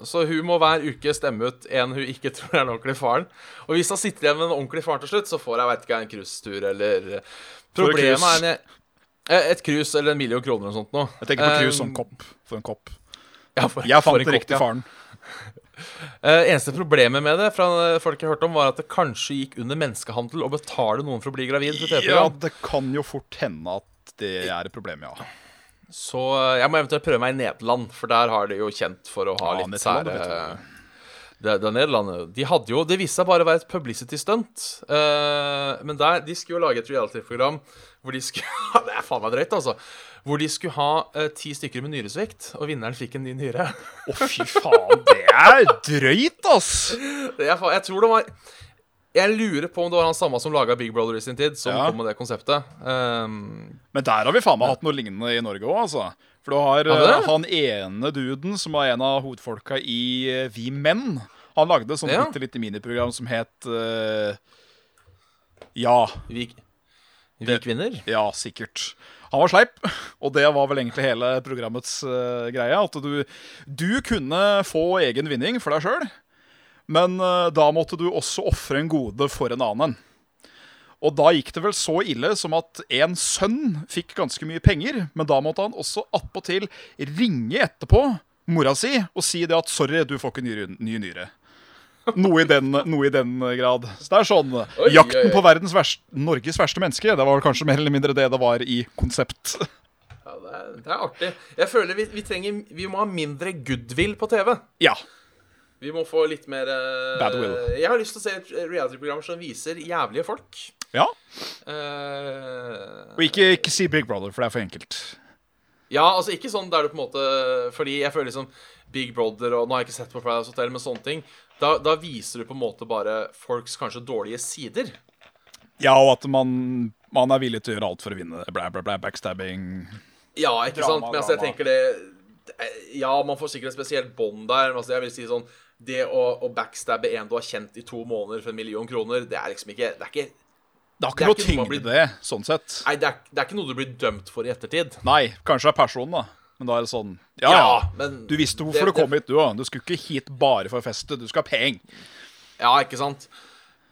[SPEAKER 2] så hun må hver uke stemme ut en hun ikke tror er den ordentlige faren. Og hvis hun sitter igjen med den ordentlige faren til slutt, så får hun vet ikke, en cruisetur eller eh, Problemet
[SPEAKER 3] cruise.
[SPEAKER 2] er en, eh, et cruise eller en million kroner eller noe sånt. Nå.
[SPEAKER 3] Jeg tenker på
[SPEAKER 2] Eh,
[SPEAKER 3] krus som kopp. For en kopp.
[SPEAKER 2] ja, for-
[SPEAKER 3] Jeg
[SPEAKER 2] for
[SPEAKER 3] fant
[SPEAKER 2] en
[SPEAKER 3] den
[SPEAKER 2] kopp, ja.
[SPEAKER 3] riktige faren.
[SPEAKER 2] Eh, eneste problemet med det fra eh, folk jeg hørte om, var at det kanskje gikk under menneskehandel å betale noen for å bli gravid. Til
[SPEAKER 3] Ja,
[SPEAKER 2] TV-program.
[SPEAKER 3] det kan jo fort hende at det er et problem, ja.
[SPEAKER 2] Så eh, jeg må eventuelt prøve meg i Nederland, for der har de jo kjent for å ha
[SPEAKER 3] Ja,
[SPEAKER 2] litt
[SPEAKER 3] Nederland,
[SPEAKER 2] sære
[SPEAKER 3] vet
[SPEAKER 2] det, det Nederland, de hadde jo, det viste seg bare å være et publicity stunt. eh, men der, de skulle jo lage et reality-program hvor de skulle Det er faen meg drøyt, altså. Hvor de skulle ha eh, ti stykker med nyresvikt, og vinneren fikk en ny nyre.
[SPEAKER 3] Å, fy faen. Det er drøyt, ass.
[SPEAKER 2] Det er fa- jeg tror det var Jeg lurer på om det var han samme som laga Big Brother i sin tid, som
[SPEAKER 3] Ja.
[SPEAKER 2] kom med det konseptet. Ehm,
[SPEAKER 3] Men der har vi faen meg hatt noe lignende i Norge òg, altså. For du har
[SPEAKER 2] Har vi det?
[SPEAKER 3] eh, han ene duden som var en av hovedfolka i eh, Vi menn. Han lagde et sånt
[SPEAKER 2] Ja.
[SPEAKER 3] bitte lite miniprogram som het eh, Ja.
[SPEAKER 2] vi, vi
[SPEAKER 3] Det-
[SPEAKER 2] kvinner.
[SPEAKER 3] Ja, sikkert. Han var sleip, og det var vel egentlig hele programmets eh, greie. At du, du kunne få egen vinning for deg sjøl, men eh, da måtte du også ofre en gode for en annen. Og da gikk det vel så ille som at en sønn fikk ganske mye penger, men da måtte han også attpåtil ringe etterpå mora si og si det at 'sorry, du får ikke ny, ryn- ny nyre'. Noe i, den, noe i den grad. Så det er sånn.
[SPEAKER 2] oi,
[SPEAKER 3] jakten
[SPEAKER 2] oi.
[SPEAKER 3] på verdens verst, Norges verste menneske, det var vel kanskje mer eller mindre det det var i konsept.
[SPEAKER 2] Ja, det, er, det er artig. Jeg føler vi, vi trenger Vi må ha mindre goodwill på TV.
[SPEAKER 3] Ja.
[SPEAKER 2] Vi må få litt mer eh,
[SPEAKER 3] Bad will.
[SPEAKER 2] Jeg har lyst til å se et reality-program som viser jævlige folk.
[SPEAKER 3] Ja.
[SPEAKER 2] Eh,
[SPEAKER 3] Og ikke, ikke si Big Brother, for det er for enkelt.
[SPEAKER 2] ja, altså ikke sånn der du på en måte Fordi jeg føler liksom Big Brother og Nå har jeg ikke sett på Paradise Hotel, men sånne ting. Da, da viser du på en måte bare folks kanskje dårlige sider.
[SPEAKER 3] Ja, og at man, man er villig til å gjøre alt for å vinne. Blæ, blæ, blæ, backstabbing.
[SPEAKER 2] Ja, ikke
[SPEAKER 3] Drama,
[SPEAKER 2] sant? Men altså, jeg
[SPEAKER 3] drama.
[SPEAKER 2] tenker det eh, Ja, man får sikkert et spesielt bånd der. Men altså, jeg vil si sånn Det å, å backstabbe en du har kjent i to måneder for en million kroner, det er liksom ikke Det er ikke,
[SPEAKER 3] Det har
[SPEAKER 2] Det
[SPEAKER 3] ikke
[SPEAKER 2] er
[SPEAKER 3] noe
[SPEAKER 2] ikke noe man
[SPEAKER 3] tyngde i det, sånn sett.
[SPEAKER 2] nei, det er, det er ikke noe du blir dømt for i ettertid.
[SPEAKER 3] Nei, kanskje det er personen, da. Men da er det sånn Ja, ja.
[SPEAKER 2] Ja, men
[SPEAKER 3] Du visste hvorfor
[SPEAKER 2] det-
[SPEAKER 3] du kom hit, du òg. Du skulle ikke hit bare for å feste. Du skal ha penger.
[SPEAKER 2] Ja, ikke sant?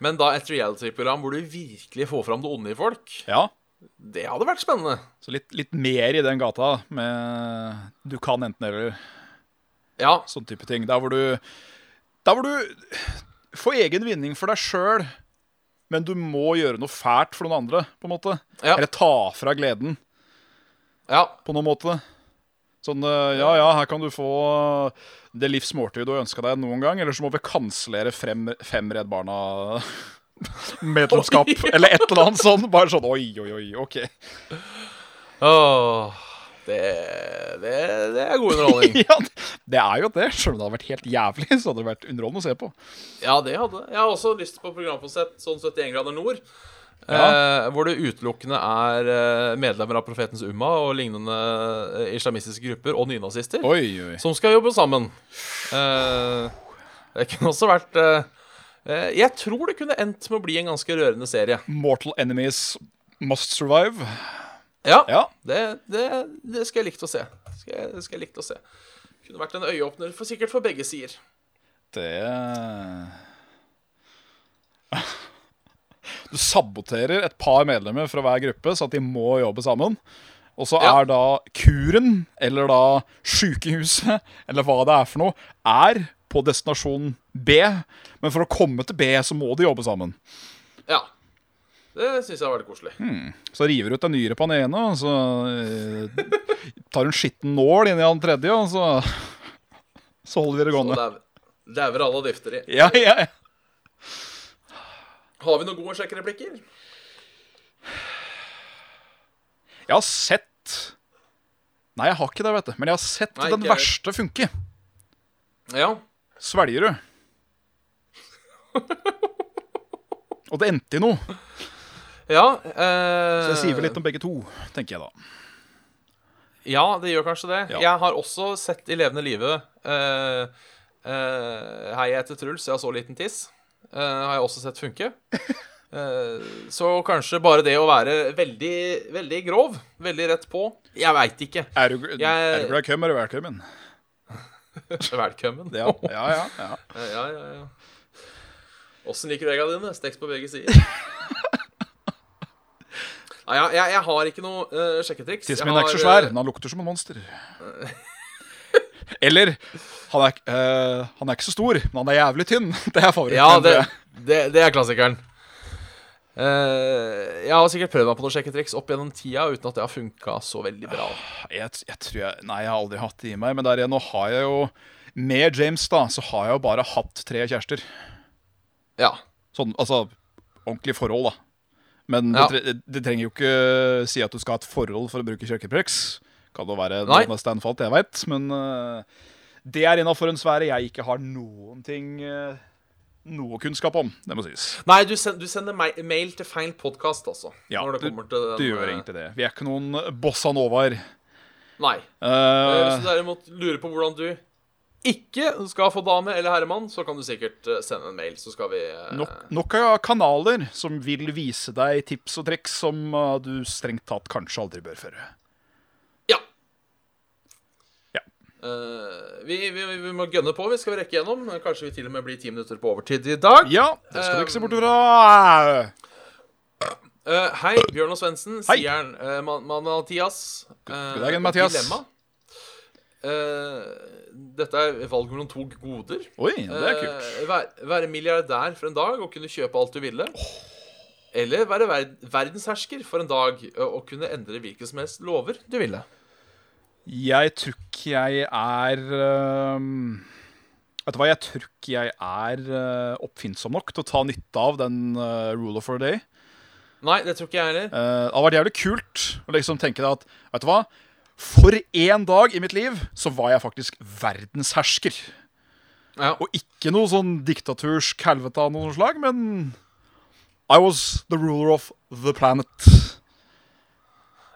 [SPEAKER 2] Men da et reality-program hvor du virkelig får fram det onde i folk,
[SPEAKER 3] Ja.
[SPEAKER 2] det hadde vært spennende.
[SPEAKER 3] Så litt, litt mer i den gata med du kan enten eller
[SPEAKER 2] Ja,
[SPEAKER 3] sånn type ting. Der hvor du Der hvor du får egen vinning for deg sjøl, men du må gjøre noe fælt for noen andre, på en måte.
[SPEAKER 2] Ja.
[SPEAKER 3] Eller ta fra gleden.
[SPEAKER 2] ja,
[SPEAKER 3] på noen måte. Sånn eh, Ja, ja, her kan du få det livs måltid du har ønska deg noen gang. Eller så må vi kansellere frem fem Redd Barna-medlemskap.
[SPEAKER 2] Oi.
[SPEAKER 3] Eller et eller annet sånn. Bare sånn oi, oi, oi, OK.
[SPEAKER 2] Åh, det, det, det er god underholdning.
[SPEAKER 3] Ja, det er jo det. Selv om det hadde vært helt jævlig, så hadde det vært underholdende å se på.
[SPEAKER 2] Ja, det hadde jeg. Jeg har også lyst på programkonsept sånn 71 grader nord. Eh, hvor det utelukkende er eh, medlemmer av Profetens Umma og lignende eh, islamistiske grupper og nynazister
[SPEAKER 3] Oi, oi.
[SPEAKER 2] som skal jobbe sammen. Eh, det kunne også vært eh, eh, Jeg tror det kunne endt med å bli en ganske rørende serie.
[SPEAKER 3] Mortal Enemies Must Survive.
[SPEAKER 2] Ja,
[SPEAKER 3] Ja.
[SPEAKER 2] Det, det, det skal jeg likt å se. Det skal jeg, det skal jeg likt å se. Kunne vært en øyeåpner for sikkert for begge sider.
[SPEAKER 3] Det Du saboterer et par medlemmer fra hver gruppe, så at de må jobbe sammen. Og så
[SPEAKER 2] Ja.
[SPEAKER 3] er da kuren, eller da sjukehuset, eller hva det er for noe, er på destinasjon B. Men for å komme til B, så må de jobbe sammen.
[SPEAKER 2] Ja. Det syns jeg var veldig koselig.
[SPEAKER 3] Så river du ut en nyre på den ene, og så eh, tar hun skitten nål inn i den tredje, og så, så holder vi det
[SPEAKER 2] Og
[SPEAKER 3] gående.
[SPEAKER 2] dau- dauer alle og difter i.
[SPEAKER 3] Ja, ja, ja.
[SPEAKER 2] Har vi noen gode sjekkereplikker?
[SPEAKER 3] Jeg har sett Nei, jeg har ikke det, vet du. Men jeg har sett
[SPEAKER 2] Nei,
[SPEAKER 3] den
[SPEAKER 2] ikke jeg
[SPEAKER 3] verste funke.
[SPEAKER 2] Ja.
[SPEAKER 3] Svelger du? Og det endte i noe.
[SPEAKER 2] Ja,
[SPEAKER 3] Så
[SPEAKER 2] eh,
[SPEAKER 3] jeg sier vel litt om begge to, tenker jeg da.
[SPEAKER 2] eh, Ja, det gjør kanskje det.
[SPEAKER 3] Ja.
[SPEAKER 2] Jeg har også sett i levende live eh, eh, Hei, jeg heter Truls, jeg har så liten tiss. Eh, har jeg også sett funke. Eh, så kanskje bare det å være veldig, veldig grov, veldig rett på Jeg veit ikke.
[SPEAKER 3] Er du, er du glad i køm, er du velkommen.
[SPEAKER 2] Velkommen.
[SPEAKER 3] Ja, ja, ja. ja.
[SPEAKER 2] Eh, ja, ja, ja. Åssen liker du egga dine? Steks på begge sider. Nei, jeg, jeg, jeg har ikke noe eh, sjekketriks.
[SPEAKER 3] Tissen
[SPEAKER 2] Jeg
[SPEAKER 3] min er ikke så
[SPEAKER 2] har, eh,
[SPEAKER 3] svær, men han lukter som en monster. Eller han er, ikke- eh, han er ikke så stor, men han er jævlig tynn. Det er favoritten.
[SPEAKER 2] Ja, det,
[SPEAKER 3] tror jeg.
[SPEAKER 2] det, det er klassikeren. Eh, jeg har sikkert prøvd meg på noen sjekketriks opp gjennom tida uten at det har funka så veldig bra.
[SPEAKER 3] Jeg, t- jeg tror jeg Nei, jeg har aldri hatt det i meg. Men der igjen, nå har jeg jo Med James, da, så har jeg jo bare hatt tre kjærester.
[SPEAKER 2] Ja.
[SPEAKER 3] Sånn, altså Ordentlig forhold, da. Men
[SPEAKER 2] Ja.
[SPEAKER 3] det, tre, det trenger jo ikke si at du skal ha et forhold for å bruke kjøkkenpreks. Kan det være
[SPEAKER 2] Nei.
[SPEAKER 3] noen av standfalt, jeg veit, men øh, det er innafor en sfære jeg ikke har noen ting øh, Noe kunnskap om, det må sies.
[SPEAKER 2] Nei, du, send, du sender meg- mail til feil podkast, altså.
[SPEAKER 3] Ja,
[SPEAKER 2] når det
[SPEAKER 3] du-
[SPEAKER 2] kommer til den,
[SPEAKER 3] Du gjør
[SPEAKER 2] eh,
[SPEAKER 3] egentlig det. Vi er ikke noen bossa novaer.
[SPEAKER 2] Nei. Eh,
[SPEAKER 3] Uh,
[SPEAKER 2] Hvis du derimot lurer på hvordan du ikke skal få dame eller herremann, så kan du sikkert eh, sende en mail, så skal vi eh,
[SPEAKER 3] Nok, nok av kanaler som vil vise deg tips og triks som uh, du strengt tatt kanskje aldri bør føre.
[SPEAKER 2] Ja.
[SPEAKER 3] Ja.
[SPEAKER 2] Eh, vi, vi, vi må gønne på. Vi skal rekke gjennom. Kanskje vi til og med blir ti minutter på overtid i dag.
[SPEAKER 3] Ja, det skal du ikke se bort fra.
[SPEAKER 2] Eh, hei, Bjørn og Svendsen,
[SPEAKER 3] Hei.
[SPEAKER 2] sier han. Eh, Ma- Ma- Mathias. eh,
[SPEAKER 3] god dagen,
[SPEAKER 2] og
[SPEAKER 3] Mathias.
[SPEAKER 2] Dilemma. Eh, dette er valg mellom to goder.
[SPEAKER 3] Oi, det er kult.
[SPEAKER 2] Eh, vær, være milliardær for en dag og kunne kjøpe alt du ville. Eller være verd verdenshersker for en dag eh, og kunne endre hvilke som helst lover du ville.
[SPEAKER 3] Jeg tror ikke jeg er øhm, Vet du hva, jeg eh, tror ikke eh, jeg er øh, oppfinnsom nok til å ta nytte av den øh, rule of a day.
[SPEAKER 2] Nei, det tror ikke jeg heller.
[SPEAKER 3] Eh, det hadde vært jævlig kult å liksom tenke deg at Vet du hva? For én dag i mitt liv så var jeg faktisk verdenshersker.
[SPEAKER 2] Ja.
[SPEAKER 3] Og ikke noe sånn diktatursk helvete av noe slag, men I was the ruler of the planet.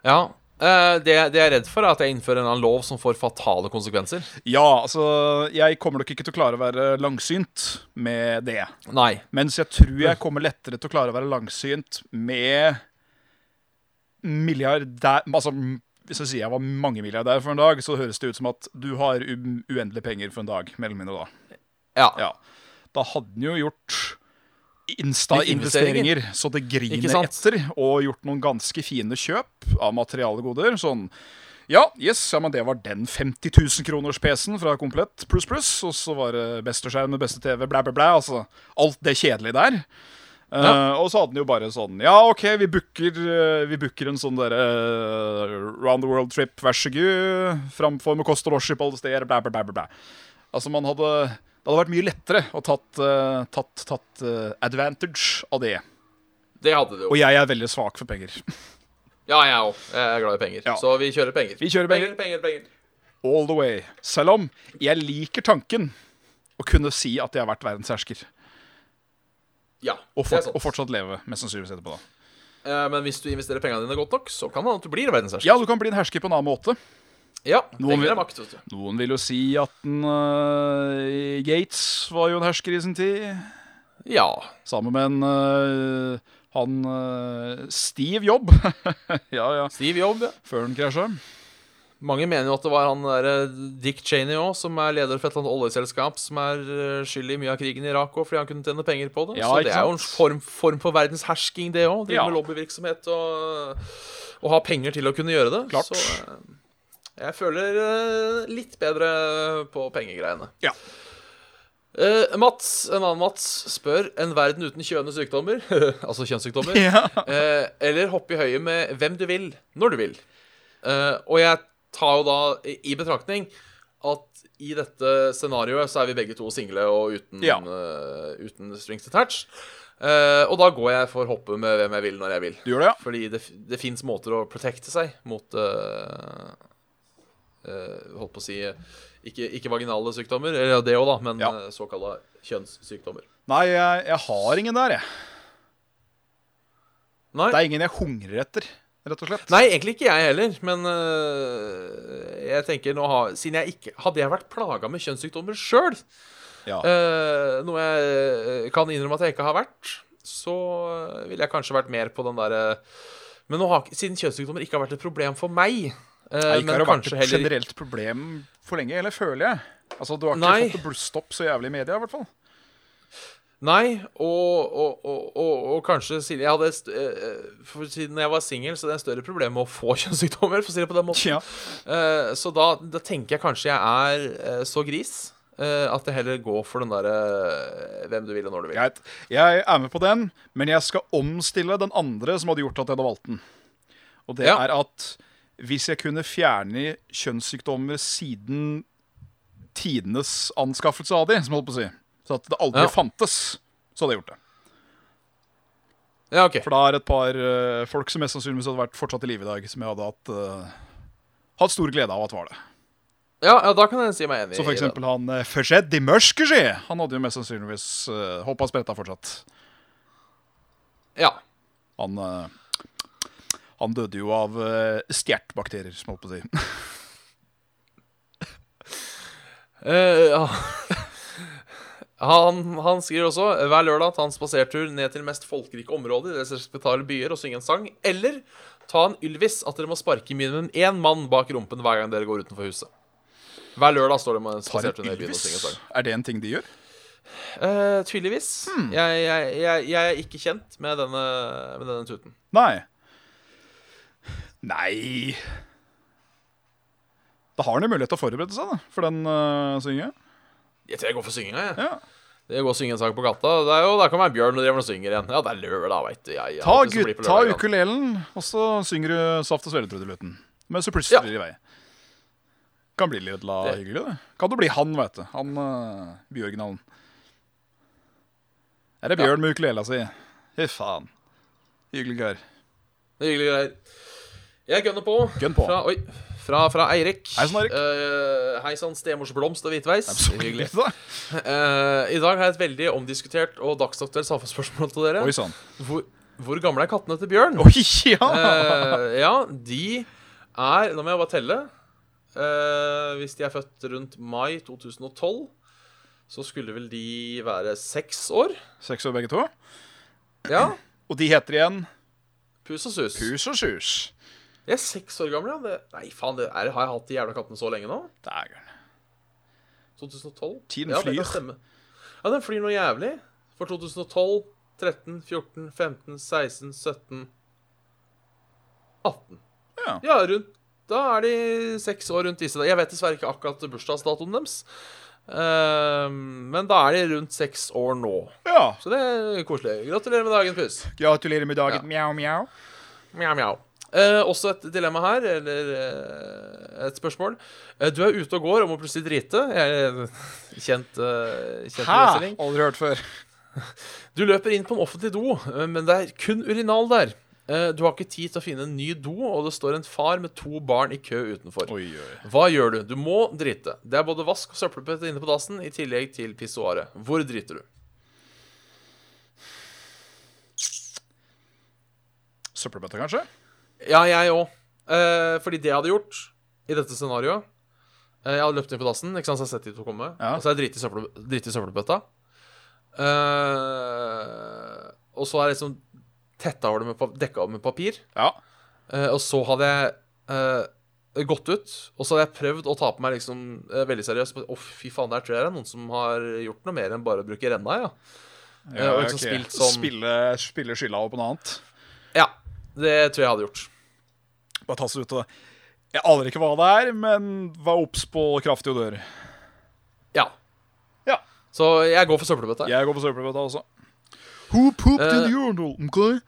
[SPEAKER 2] ja. Eh, det, det jeg er redd for, er at jeg innfører en eller annen lov som får fatale konsekvenser.
[SPEAKER 3] Ja, altså Jeg kommer nok ikke til å klare å være langsynt med det.
[SPEAKER 2] Nei.
[SPEAKER 3] Mens jeg tror jeg kommer lettere til å klare å være langsynt med milliardær Altså, hvis jeg sier jeg var mangemilliardær for en dag, så høres det ut som at du har u- uendelig penger for en dag, mer eller mindre da.
[SPEAKER 2] Ja.
[SPEAKER 3] Ja. Da hadde han jo gjort Insta-investeringer så det
[SPEAKER 2] Ikke
[SPEAKER 3] griner
[SPEAKER 2] sant?
[SPEAKER 3] etter, og gjort noen ganske fine kjøp av materiale goder. Sånn ja, yes, ja, men det var den 50 000 kroners PC-en fra Komplett pluss pluss. Og så var det beste skjerm med beste TV, blæ, blæ, blæ. Altså alt det kjedelige der. Eh,
[SPEAKER 2] Ja.
[SPEAKER 3] og så hadde han jo bare sånn Ja, OK, vi booker, eh, vi booker en sånn derre eh, round the world trip, vær så god. Framfor med kost og losji på alle steder, blæ, blæ, blæ, blæ, blæ. Altså, man hadde Det hadde vært mye lettere å tatt, eh, tatt, tatt eh, advantage av det.
[SPEAKER 2] Det hadde du jo.
[SPEAKER 3] Og jeg er veldig svak for penger.
[SPEAKER 2] Ja, jeg òg. Jeg er glad i penger.
[SPEAKER 3] Ja.
[SPEAKER 2] Så vi kjører penger.
[SPEAKER 3] Vi kjører penger.
[SPEAKER 2] penger, penger, penger.
[SPEAKER 3] All the way. Selv om jeg liker tanken å kunne si at jeg har vært verdenshersker.
[SPEAKER 2] Ja,
[SPEAKER 3] Og,
[SPEAKER 2] det
[SPEAKER 3] fort,
[SPEAKER 2] er sant.
[SPEAKER 3] og fortsatt leve, mest sannsynligvis etterpå. da
[SPEAKER 2] Eh, men hvis du investerer pengene dine godt nok, så kan det hende at du blir verdenshersker.
[SPEAKER 3] Ja, du kan bli en hersker på en annen måte.
[SPEAKER 2] Ja,
[SPEAKER 3] Noen
[SPEAKER 2] penger
[SPEAKER 3] vil-
[SPEAKER 2] er makt, vet du.
[SPEAKER 3] Noen vil jo si at den, eh, Gates var jo en hersker i sin tid.
[SPEAKER 2] Ja.
[SPEAKER 3] Sammen med en eh, han eh, Steve Jobb. ja, ja.
[SPEAKER 2] Stiv jobb. ja.
[SPEAKER 3] Før den krasja.
[SPEAKER 2] Mange mener jo at det var han der eh, Dick Cheney òg, som er leder for et eller annet oljeselskap, som er eh, skyld i mye av krigen i Irak òg, fordi han kunne tjene penger på det.
[SPEAKER 3] Ja,
[SPEAKER 2] så
[SPEAKER 3] ikke
[SPEAKER 2] det er jo en
[SPEAKER 3] sant?
[SPEAKER 2] form, form for verdenshersking, det òg. Drive
[SPEAKER 3] Ja.
[SPEAKER 2] med lobbyvirksomhet og, og ha penger til å kunne gjøre det.
[SPEAKER 3] Klart.
[SPEAKER 2] Så eh, jeg føler eh, litt bedre på pengegreiene.
[SPEAKER 3] Ja.
[SPEAKER 2] Eh, Mats, en annen Mats, spør en verden uten kjønne sykdommer, altså kjønnssykdommer, Eh, eller hoppe i høyet med hvem du vil, når du vil. Eh, og jeg tar jo da i i betraktning at i dette scenarioet så er vi begge to single og uten,
[SPEAKER 3] Ja.
[SPEAKER 2] eh, uten strings attached. Eh, og da går jeg for hoppe med hvem jeg vil, når jeg vil.
[SPEAKER 3] Du gjør det, ja?
[SPEAKER 2] Fordi det, f- det fins måter å protekte seg mot eh, eh, Holdt på å si eh, ikke, ikke vaginale sykdommer, eller ja, det òg, da, men
[SPEAKER 3] Ja.
[SPEAKER 2] eh, såkalla kjønnssykdommer.
[SPEAKER 3] Nei, jeg, jeg har ingen der, jeg.
[SPEAKER 2] Nei.
[SPEAKER 3] Det er ingen jeg hungrer etter, rett og slett.
[SPEAKER 2] Nei, egentlig ikke jeg heller, men øh, jeg tenker nå har, siden jeg ikke, Hadde jeg vært plaga med kjønnssykdommer sjøl,
[SPEAKER 3] Ja.
[SPEAKER 2] noe jeg øh, kan innrømme at jeg ikke har vært, så øh, ville jeg kanskje vært mer på den derre Men nå har, ikke- siden kjønnssykdommer ikke har vært et problem for meg øh,
[SPEAKER 3] Nei, ikke
[SPEAKER 2] men
[SPEAKER 3] har det vært
[SPEAKER 2] kanskje
[SPEAKER 3] et
[SPEAKER 2] heller-
[SPEAKER 3] generelt problem for lenge, eller føler jeg. Altså, Du har ikke
[SPEAKER 2] Nei.
[SPEAKER 3] fått det blusset opp så jævlig i media, i hvert fall.
[SPEAKER 2] Nei, og, og, og, og, og kanskje siden jeg hadde st- øh, for Siden jeg var singel, så er det en større problem med å få kjønnssykdommer, for å si det på den måten.
[SPEAKER 3] Ja.
[SPEAKER 2] Eh, så da, da tenker jeg kanskje jeg er eh, så gris eh, at jeg heller går for den derre eh, hvem du vil og når du vil.
[SPEAKER 3] Greit. Jeg er med på den, men jeg skal omstille den andre som hadde gjort at jeg hadde valgt den. Og det
[SPEAKER 2] Ja.
[SPEAKER 3] er at hvis jeg kunne fjerne kjønnssykdommer siden tidenes anskaffelse av de, som jeg holdt på å si, så at det aldri
[SPEAKER 2] Ja.
[SPEAKER 3] fantes, så hadde jeg gjort det.
[SPEAKER 2] Ja, ok.
[SPEAKER 3] For da er et par eh, folk som mest sannsynligvis hadde vært fortsatt i live i dag, som jeg hadde hatt, eh, hatt stor glede av at var det.
[SPEAKER 2] Ja, ja, da kan jeg si meg enig.
[SPEAKER 3] Så for
[SPEAKER 2] i det.
[SPEAKER 3] eksempel han uh, Fred i Mørskesje, han hadde jo mest sannsynligvis uh, hoppa spretta fortsatt.
[SPEAKER 2] Ja.
[SPEAKER 3] Han, eh, han døde jo av eh, stjertbakterier, som jeg holdt på å si.
[SPEAKER 2] Eh, ja. Han, han skriver også hver lørdag ta en spasertur ned til mest folkerike områder i deres respektable byer og synge en sang, eller ta en Ylvis at dere må sparke minimum én mann bak rumpen hver gang dere går utenfor huset. Hver lørdag står det med en
[SPEAKER 3] Har en
[SPEAKER 2] spasertur ned i byen og
[SPEAKER 3] Ylvis?
[SPEAKER 2] synger en sang.
[SPEAKER 3] Er det en ting de gjør?
[SPEAKER 2] Eh, tydeligvis.
[SPEAKER 3] Hmm.
[SPEAKER 2] Jeg, jeg, jeg, jeg er ikke kjent med denne, med denne tuten.
[SPEAKER 3] Nei. Nei Da har han jo mulighet til å forberede seg, da, for den uh, synginga.
[SPEAKER 2] Jeg tror jeg går for synginga, jeg.
[SPEAKER 3] Ja.
[SPEAKER 2] Det går og synge en sang på gata. Det er jo, der kommer en bjørn og driver og synger igjen. Ja, det er lørdag, veit du. Jeg, jeg,
[SPEAKER 3] Ta,
[SPEAKER 2] alltid så blir
[SPEAKER 3] gutt,
[SPEAKER 2] på
[SPEAKER 3] ta
[SPEAKER 2] lørdag, ja.
[SPEAKER 3] ukulelen, og så synger du Saft og Svelgetrudeluten. Men så
[SPEAKER 2] Ja.
[SPEAKER 3] plutselig blir det i vei. Kan bli litt la
[SPEAKER 2] Det-
[SPEAKER 3] hyggelig, det. Kan du bli han, veit du. Han uh, byoriginalen. Er det
[SPEAKER 2] Ja.
[SPEAKER 3] Bjørn med ukulelen sin? Fy altså? faen. Hyggelige greier.
[SPEAKER 2] Det er hyggelige greier. Jeg gønner på.
[SPEAKER 3] Gønn på.
[SPEAKER 2] Fra, oi, fra, fra Eirik.
[SPEAKER 3] Hei sann, Eirik.
[SPEAKER 2] Eh, Hei sann, stemors blomst og hvitveis.
[SPEAKER 3] Det er så
[SPEAKER 2] Hyggelig.
[SPEAKER 3] hyggelig. da.
[SPEAKER 2] Eh, I dag har jeg et veldig omdiskutert og dagsaktuelt samfunnsspørsmål til dere.
[SPEAKER 3] Oi sann.
[SPEAKER 2] Hvor, hvor gamle er kattene til Bjørn?
[SPEAKER 3] Oi, ja!
[SPEAKER 2] Eh, ja, de er Nå må jeg bare telle. Eh, hvis de er født rundt mai 2012, så skulle vel de være seks år.
[SPEAKER 3] Seks år begge to.
[SPEAKER 2] Ja.
[SPEAKER 3] Og de heter igjen
[SPEAKER 2] Pus og sus.
[SPEAKER 3] Pus og Sus.
[SPEAKER 2] De er seks år gamle, ja. Det, nei, faen, det er, har jeg hatt de jævla kattene så lenge nå?
[SPEAKER 3] Dægeren.
[SPEAKER 2] 2012?
[SPEAKER 3] Tiden
[SPEAKER 2] ja, det
[SPEAKER 3] flyr.
[SPEAKER 2] kan stemme. Ja, den flyr noe jævlig. For 2012, 13, 14, 15, 16, 17 18.
[SPEAKER 3] Ja.
[SPEAKER 2] rundt Da er de seks år rundt disse. Jeg vet dessverre ikke akkurat bursdagsdatoen deres. Ehm, men da er de rundt seks år nå.
[SPEAKER 3] Ja.
[SPEAKER 2] Så det er koselig. Gratulerer med dagen, pus.
[SPEAKER 3] Gratulerer med dagen. Mjau, mjau.
[SPEAKER 2] Mjau, mjau. Eh, også et dilemma her, eller eh, et spørsmål. Eh, du er ute og går og må plutselig drite. Jeg, kjent eh, kjent problemstilling.
[SPEAKER 3] Aldri hørt før.
[SPEAKER 2] Du løper inn på en offentlig do, eh, men det er kun urinal der. Eh, Du har ikke tid til å finne en ny do, og det står en far med to barn i kø utenfor.
[SPEAKER 3] Oi, oi.
[SPEAKER 2] Hva gjør du? Du må drite. Det er både vask og søppelbøtte inne på dassen, i tillegg til pissoaret. Hvor driter du?
[SPEAKER 3] Søppelbøtta, kanskje?
[SPEAKER 2] Ja, jeg òg. Eh, fordi det jeg hadde gjort i dette scenarioet eh, Jeg hadde løpt inn på dassen, ikke sant, så jeg har sett de to komme,
[SPEAKER 3] Ja.
[SPEAKER 2] og så har jeg driti i søppel- driti i søppelbøtta. Eh, og så har jeg liksom tetta over det med, pa- dekka over med papir.
[SPEAKER 3] Ja.
[SPEAKER 2] Eh, og så hadde jeg eh, gått ut, og så hadde jeg prøvd å ta på meg liksom eh, veldig seriøst Å, fy faen, der tror jeg det er noen som har gjort noe mer enn bare å bruke renna, ja. Eh, og liksom
[SPEAKER 3] ok.
[SPEAKER 2] spilt som-
[SPEAKER 3] Spille, spille skylda over på noe annet.
[SPEAKER 2] Ja, det tror jeg jeg hadde gjort.
[SPEAKER 3] Bare ta seg ut av det. Jeg aner ikke hva det er, men vær obs på kraftig odør.
[SPEAKER 2] Ja.
[SPEAKER 3] Ja.
[SPEAKER 2] Så jeg går for søppelbøtta.
[SPEAKER 3] Jeg går på søppelbøtta også. Who pooped
[SPEAKER 2] in the
[SPEAKER 3] urinal? Okay.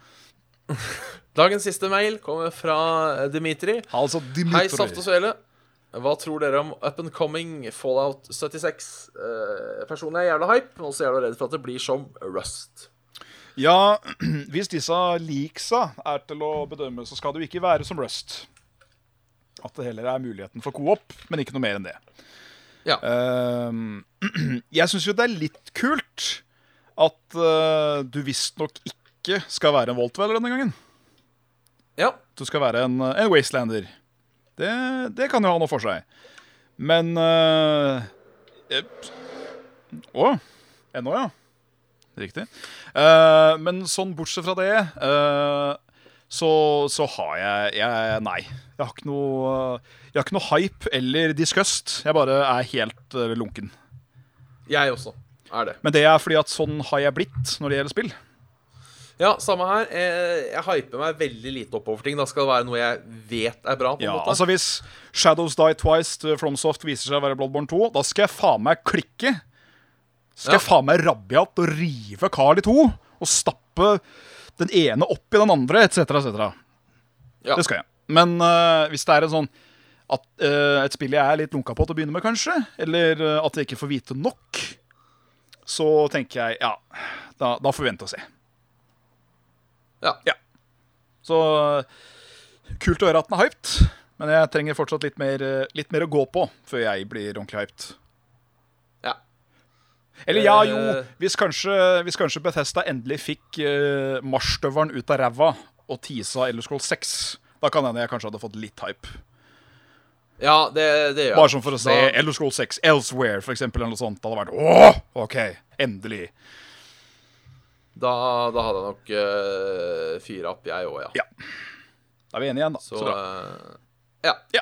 [SPEAKER 2] Dagens siste mail kommer fra Dimitri.
[SPEAKER 3] Altså,
[SPEAKER 2] Hei, Saft og Svele. Hva tror dere om up and coming Fallout 76? Eh, personlig er jeg jævla hype, men også jævla redd for at det blir som Rust.
[SPEAKER 3] Ja, hvis disse leaksa er til å bedømme, så skal det jo ikke være som Rust. At det heller er muligheten for co-op, men ikke noe mer enn det.
[SPEAKER 2] Ja.
[SPEAKER 3] Ehm, jeg syns jo det er litt kult at eh, du visstnok ikke skal være en Voltweiler denne gangen.
[SPEAKER 2] Ja.
[SPEAKER 3] Du skal være en, en Wastelander. Det, det kan jo ha noe for seg. Men eh, eh, Å, ennå, ja. Riktig. Eh, men sånn bortsett fra det, eh, så, så har jeg, jeg Nei. Jeg har, ikke noe, jeg har ikke noe hype eller disgust. Jeg bare er helt eh, lunken.
[SPEAKER 2] Jeg også er det.
[SPEAKER 3] Men det er fordi at sånn har jeg blitt når det gjelder spill.
[SPEAKER 2] Ja, samme her. Eh, Jeg hyper meg veldig lite oppover ting. Da skal det være noe jeg vet er bra. på en
[SPEAKER 3] Ja,
[SPEAKER 2] måte
[SPEAKER 3] altså Hvis Shadows Die Twice til Fromsoft viser seg å være Bloodborne 2, da skal jeg faen meg klikke. Skal
[SPEAKER 2] Ja.
[SPEAKER 3] jeg faen meg rabiat og rive Carl i to og stappe den ene opp i den andre, etc., etc.
[SPEAKER 2] Ja.
[SPEAKER 3] Det skal jeg. Men øh, hvis det er en sånn at, øh, et spill jeg er litt lunka på til å begynne med, kanskje, eller øh, at jeg ikke får vite nok, så tenker jeg ja, da, da får vi vente og se.
[SPEAKER 2] Ja.
[SPEAKER 3] Så kult å høre at den er hyped, men jeg trenger fortsatt litt mer, litt mer å gå på før jeg blir ordentlig hyped.
[SPEAKER 2] ja.
[SPEAKER 3] Eller ja, jo,
[SPEAKER 2] Eh.
[SPEAKER 3] hvis kanskje, hvis kanskje Bethesda endelig fikk uh, marsjstøvelen ut av ræva og tisa Elder Scrolls 6, da kan hende jeg kanskje hadde fått litt hype.
[SPEAKER 2] ja det, det gjør jeg.
[SPEAKER 3] Bare sånn for å se
[SPEAKER 2] Da-
[SPEAKER 3] Elder Scrolls 6 elsewhere, for eksempel, eller noe sånt. Da hadde det vært åh, OK, endelig.
[SPEAKER 2] Da, da hadde jeg nok uh, fyra opp, jeg òg, ja.
[SPEAKER 3] Ja. Da er vi enige igjen, da. Så,
[SPEAKER 2] Så,
[SPEAKER 3] bra.
[SPEAKER 2] eh, ja.
[SPEAKER 3] Ja.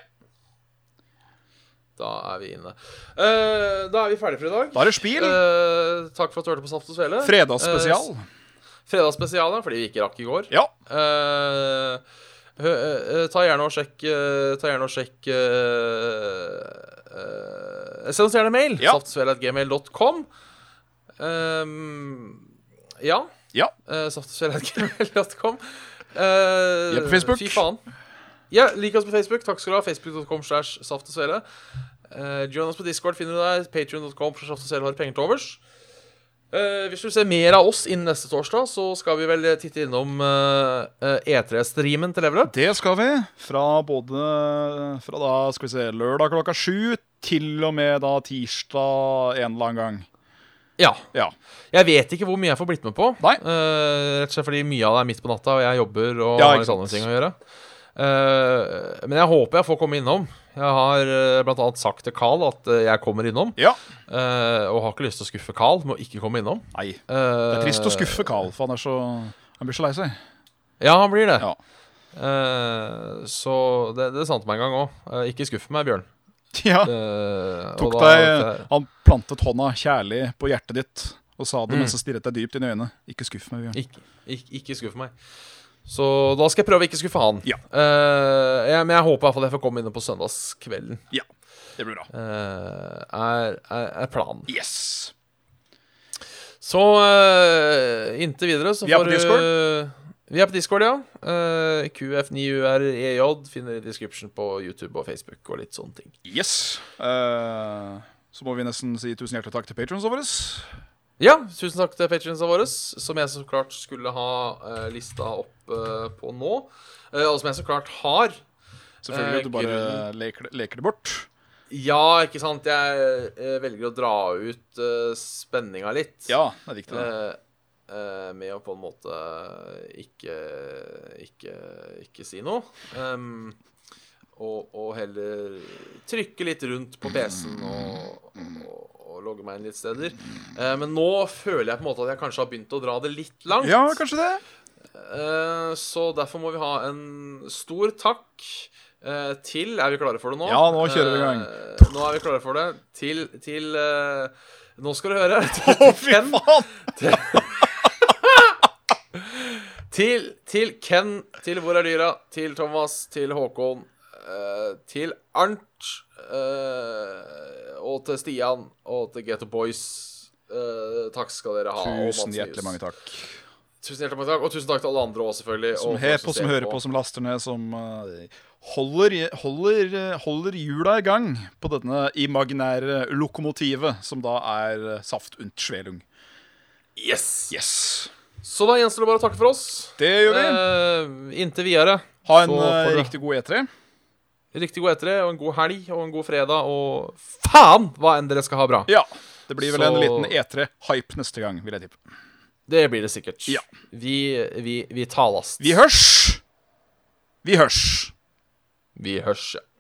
[SPEAKER 2] Da er vi inne. Eh, da er vi ferdige for i dag.
[SPEAKER 3] Da er det spill.
[SPEAKER 2] Eh, takk for at du hørte på Saft og Svele.
[SPEAKER 3] Fredagsspesial.
[SPEAKER 2] Eh, fredagsspesial, ja, fordi vi ikke rakk i går.
[SPEAKER 3] Ja.
[SPEAKER 2] Eh, hø- eh, eh, ta gjerne og sjekk eh, Ta gjerne og sjekk eh, eh, Send oss gjerne mail.
[SPEAKER 3] Ja.
[SPEAKER 2] Saftsvele.gmail.com. Eh, ja.
[SPEAKER 3] Ja.
[SPEAKER 2] Uh, Saftsvele.gmail.com. Uh,
[SPEAKER 3] Vi er på Facebook.
[SPEAKER 2] Fy faen. Ja, lik oss på Facebook. Takk skal du ha. Facebook.com slash Saft og Svele. Eh, join oss på Discord, finner du der. Patrion.com for Saft og Svele har penger til overs. Eh, hvis du ser mer av oss innen neste torsdag, så skal vi vel titte innom eh, eh, E3-streamen til Level Up.
[SPEAKER 3] Det skal vi. Fra både fra da, skal vi se, lørdag klokka sju til og med da tirsdag en eller annen gang.
[SPEAKER 2] Ja.
[SPEAKER 3] Ja.
[SPEAKER 2] Jeg vet ikke hvor mye jeg får blitt med på.
[SPEAKER 3] Nei.
[SPEAKER 2] Eh, rett og slett fordi mye av det er midt på natta, og jeg jobber og
[SPEAKER 3] Ja,
[SPEAKER 2] har
[SPEAKER 3] ikke
[SPEAKER 2] litt andre
[SPEAKER 3] sant.
[SPEAKER 2] ting å gjøre. Eh, men jeg håper jeg får komme innom. Jeg har eh, blant annet sagt til Carl at eh, jeg kommer innom,
[SPEAKER 3] ja.
[SPEAKER 2] eh, og har ikke lyst til å skuffe Carl med å ikke komme innom.
[SPEAKER 3] Nei.
[SPEAKER 2] Eh,
[SPEAKER 3] Det er trist å skuffe Carl, for han, er så, han blir så lei seg.
[SPEAKER 2] Ja, han blir det.
[SPEAKER 3] Ja.
[SPEAKER 2] Eh, så det, det sa han til meg en gang òg. ikke skuff meg, Bjørn.
[SPEAKER 3] Ja,
[SPEAKER 2] Eh, og
[SPEAKER 3] Ah. tok
[SPEAKER 2] da-
[SPEAKER 3] deg, han plantet hånda kjærlig på hjertet ditt og sa det mens han stirret deg dypt inn i øynene. Ikke skuff meg, Bjørn.
[SPEAKER 2] Ikke, ikke, ikke skuff meg. Så da skal jeg prøve å ikke skuffe han.
[SPEAKER 3] Ja.
[SPEAKER 2] Eh, jeg, men jeg håper i hvert fall jeg får komme innom på søndagskvelden.
[SPEAKER 3] Ja, det blir bra.
[SPEAKER 2] eh, er, er, er planen.
[SPEAKER 3] Yes!
[SPEAKER 2] Så eh, inntil videre så
[SPEAKER 3] Vi er på
[SPEAKER 2] får du- Vi er på Discord, ja. Eh, QF9UREJ E finner i description på YouTube og Facebook og litt sånne ting.
[SPEAKER 3] Yes! Eh, så må vi nesten si tusen hjertelig takk til patronsene våre.
[SPEAKER 2] Ja, tusen takk til patrionsene våre, som jeg så klart skulle ha eh, lista opp eh, på nå. Eh, og som jeg så klart har.
[SPEAKER 3] Selvfølgelig
[SPEAKER 2] Eh,
[SPEAKER 3] at du bare
[SPEAKER 2] grunnen-
[SPEAKER 3] leker, leker det bort.
[SPEAKER 2] Ja, ikke sant. Jeg eh, velger å dra ut eh, spenninga litt.
[SPEAKER 3] Ja, det er viktig. det.
[SPEAKER 2] Eh, eh, med å på en måte ikke ikke, ikke si noe. Ehm, og, og heller trykke litt rundt på PC-en og, og, og logge meg inn litt steder. Eh, men nå føler jeg på en måte at jeg kanskje har begynt å dra det litt langt.
[SPEAKER 3] Ja, kanskje det.
[SPEAKER 2] Eh, så derfor må vi ha en stor takk eh, til Er vi klare for det nå?
[SPEAKER 3] Ja, nå kjører vi i gang.
[SPEAKER 2] Eh, nå er vi klare for det. Til, til eh, Nå skal du høre.
[SPEAKER 3] Å, fy
[SPEAKER 2] Ken,
[SPEAKER 3] faen!
[SPEAKER 2] til, til Ken, til Hvor er dyra? Til Thomas, til Håkon, eh, til Arnt, eh, og til Stian, og til Getto Boys. Eh, takk skal dere ha. og Mats
[SPEAKER 3] Tusen hjertelig
[SPEAKER 2] Nyhus.
[SPEAKER 3] mange takk.
[SPEAKER 2] Tusen hjertelig mange takk. Og tusen takk til alle andre òg, selvfølgelig.
[SPEAKER 3] Som
[SPEAKER 2] og folk
[SPEAKER 3] her på, som
[SPEAKER 2] ser
[SPEAKER 3] hører på, som laster ned, som eh, holder, holder, eh, holder hjula i gang på denne imaginære lokomotivet, som da er eh, Saft und Schwelung.
[SPEAKER 2] Yes!
[SPEAKER 3] Yes!
[SPEAKER 2] Så da gjenstår det bare å takke for oss.
[SPEAKER 3] Det gjør vi.
[SPEAKER 2] Eh, inntil videre.
[SPEAKER 3] Ha en
[SPEAKER 2] så får
[SPEAKER 3] eh,
[SPEAKER 2] du-
[SPEAKER 3] riktig god E3.
[SPEAKER 2] Riktig god etere, og en god helg, og en god fredag, og faen hva enn dere skal ha bra.
[SPEAKER 3] Ja. Det blir vel en
[SPEAKER 2] Så-
[SPEAKER 3] liten E3-hype neste gang, vil jeg tippe.
[SPEAKER 2] Det blir det sikkert.
[SPEAKER 3] Ja.
[SPEAKER 2] Vi, vi, vi talast.
[SPEAKER 3] Vi hørs! Vi hørs!
[SPEAKER 2] Vi hørs, ja.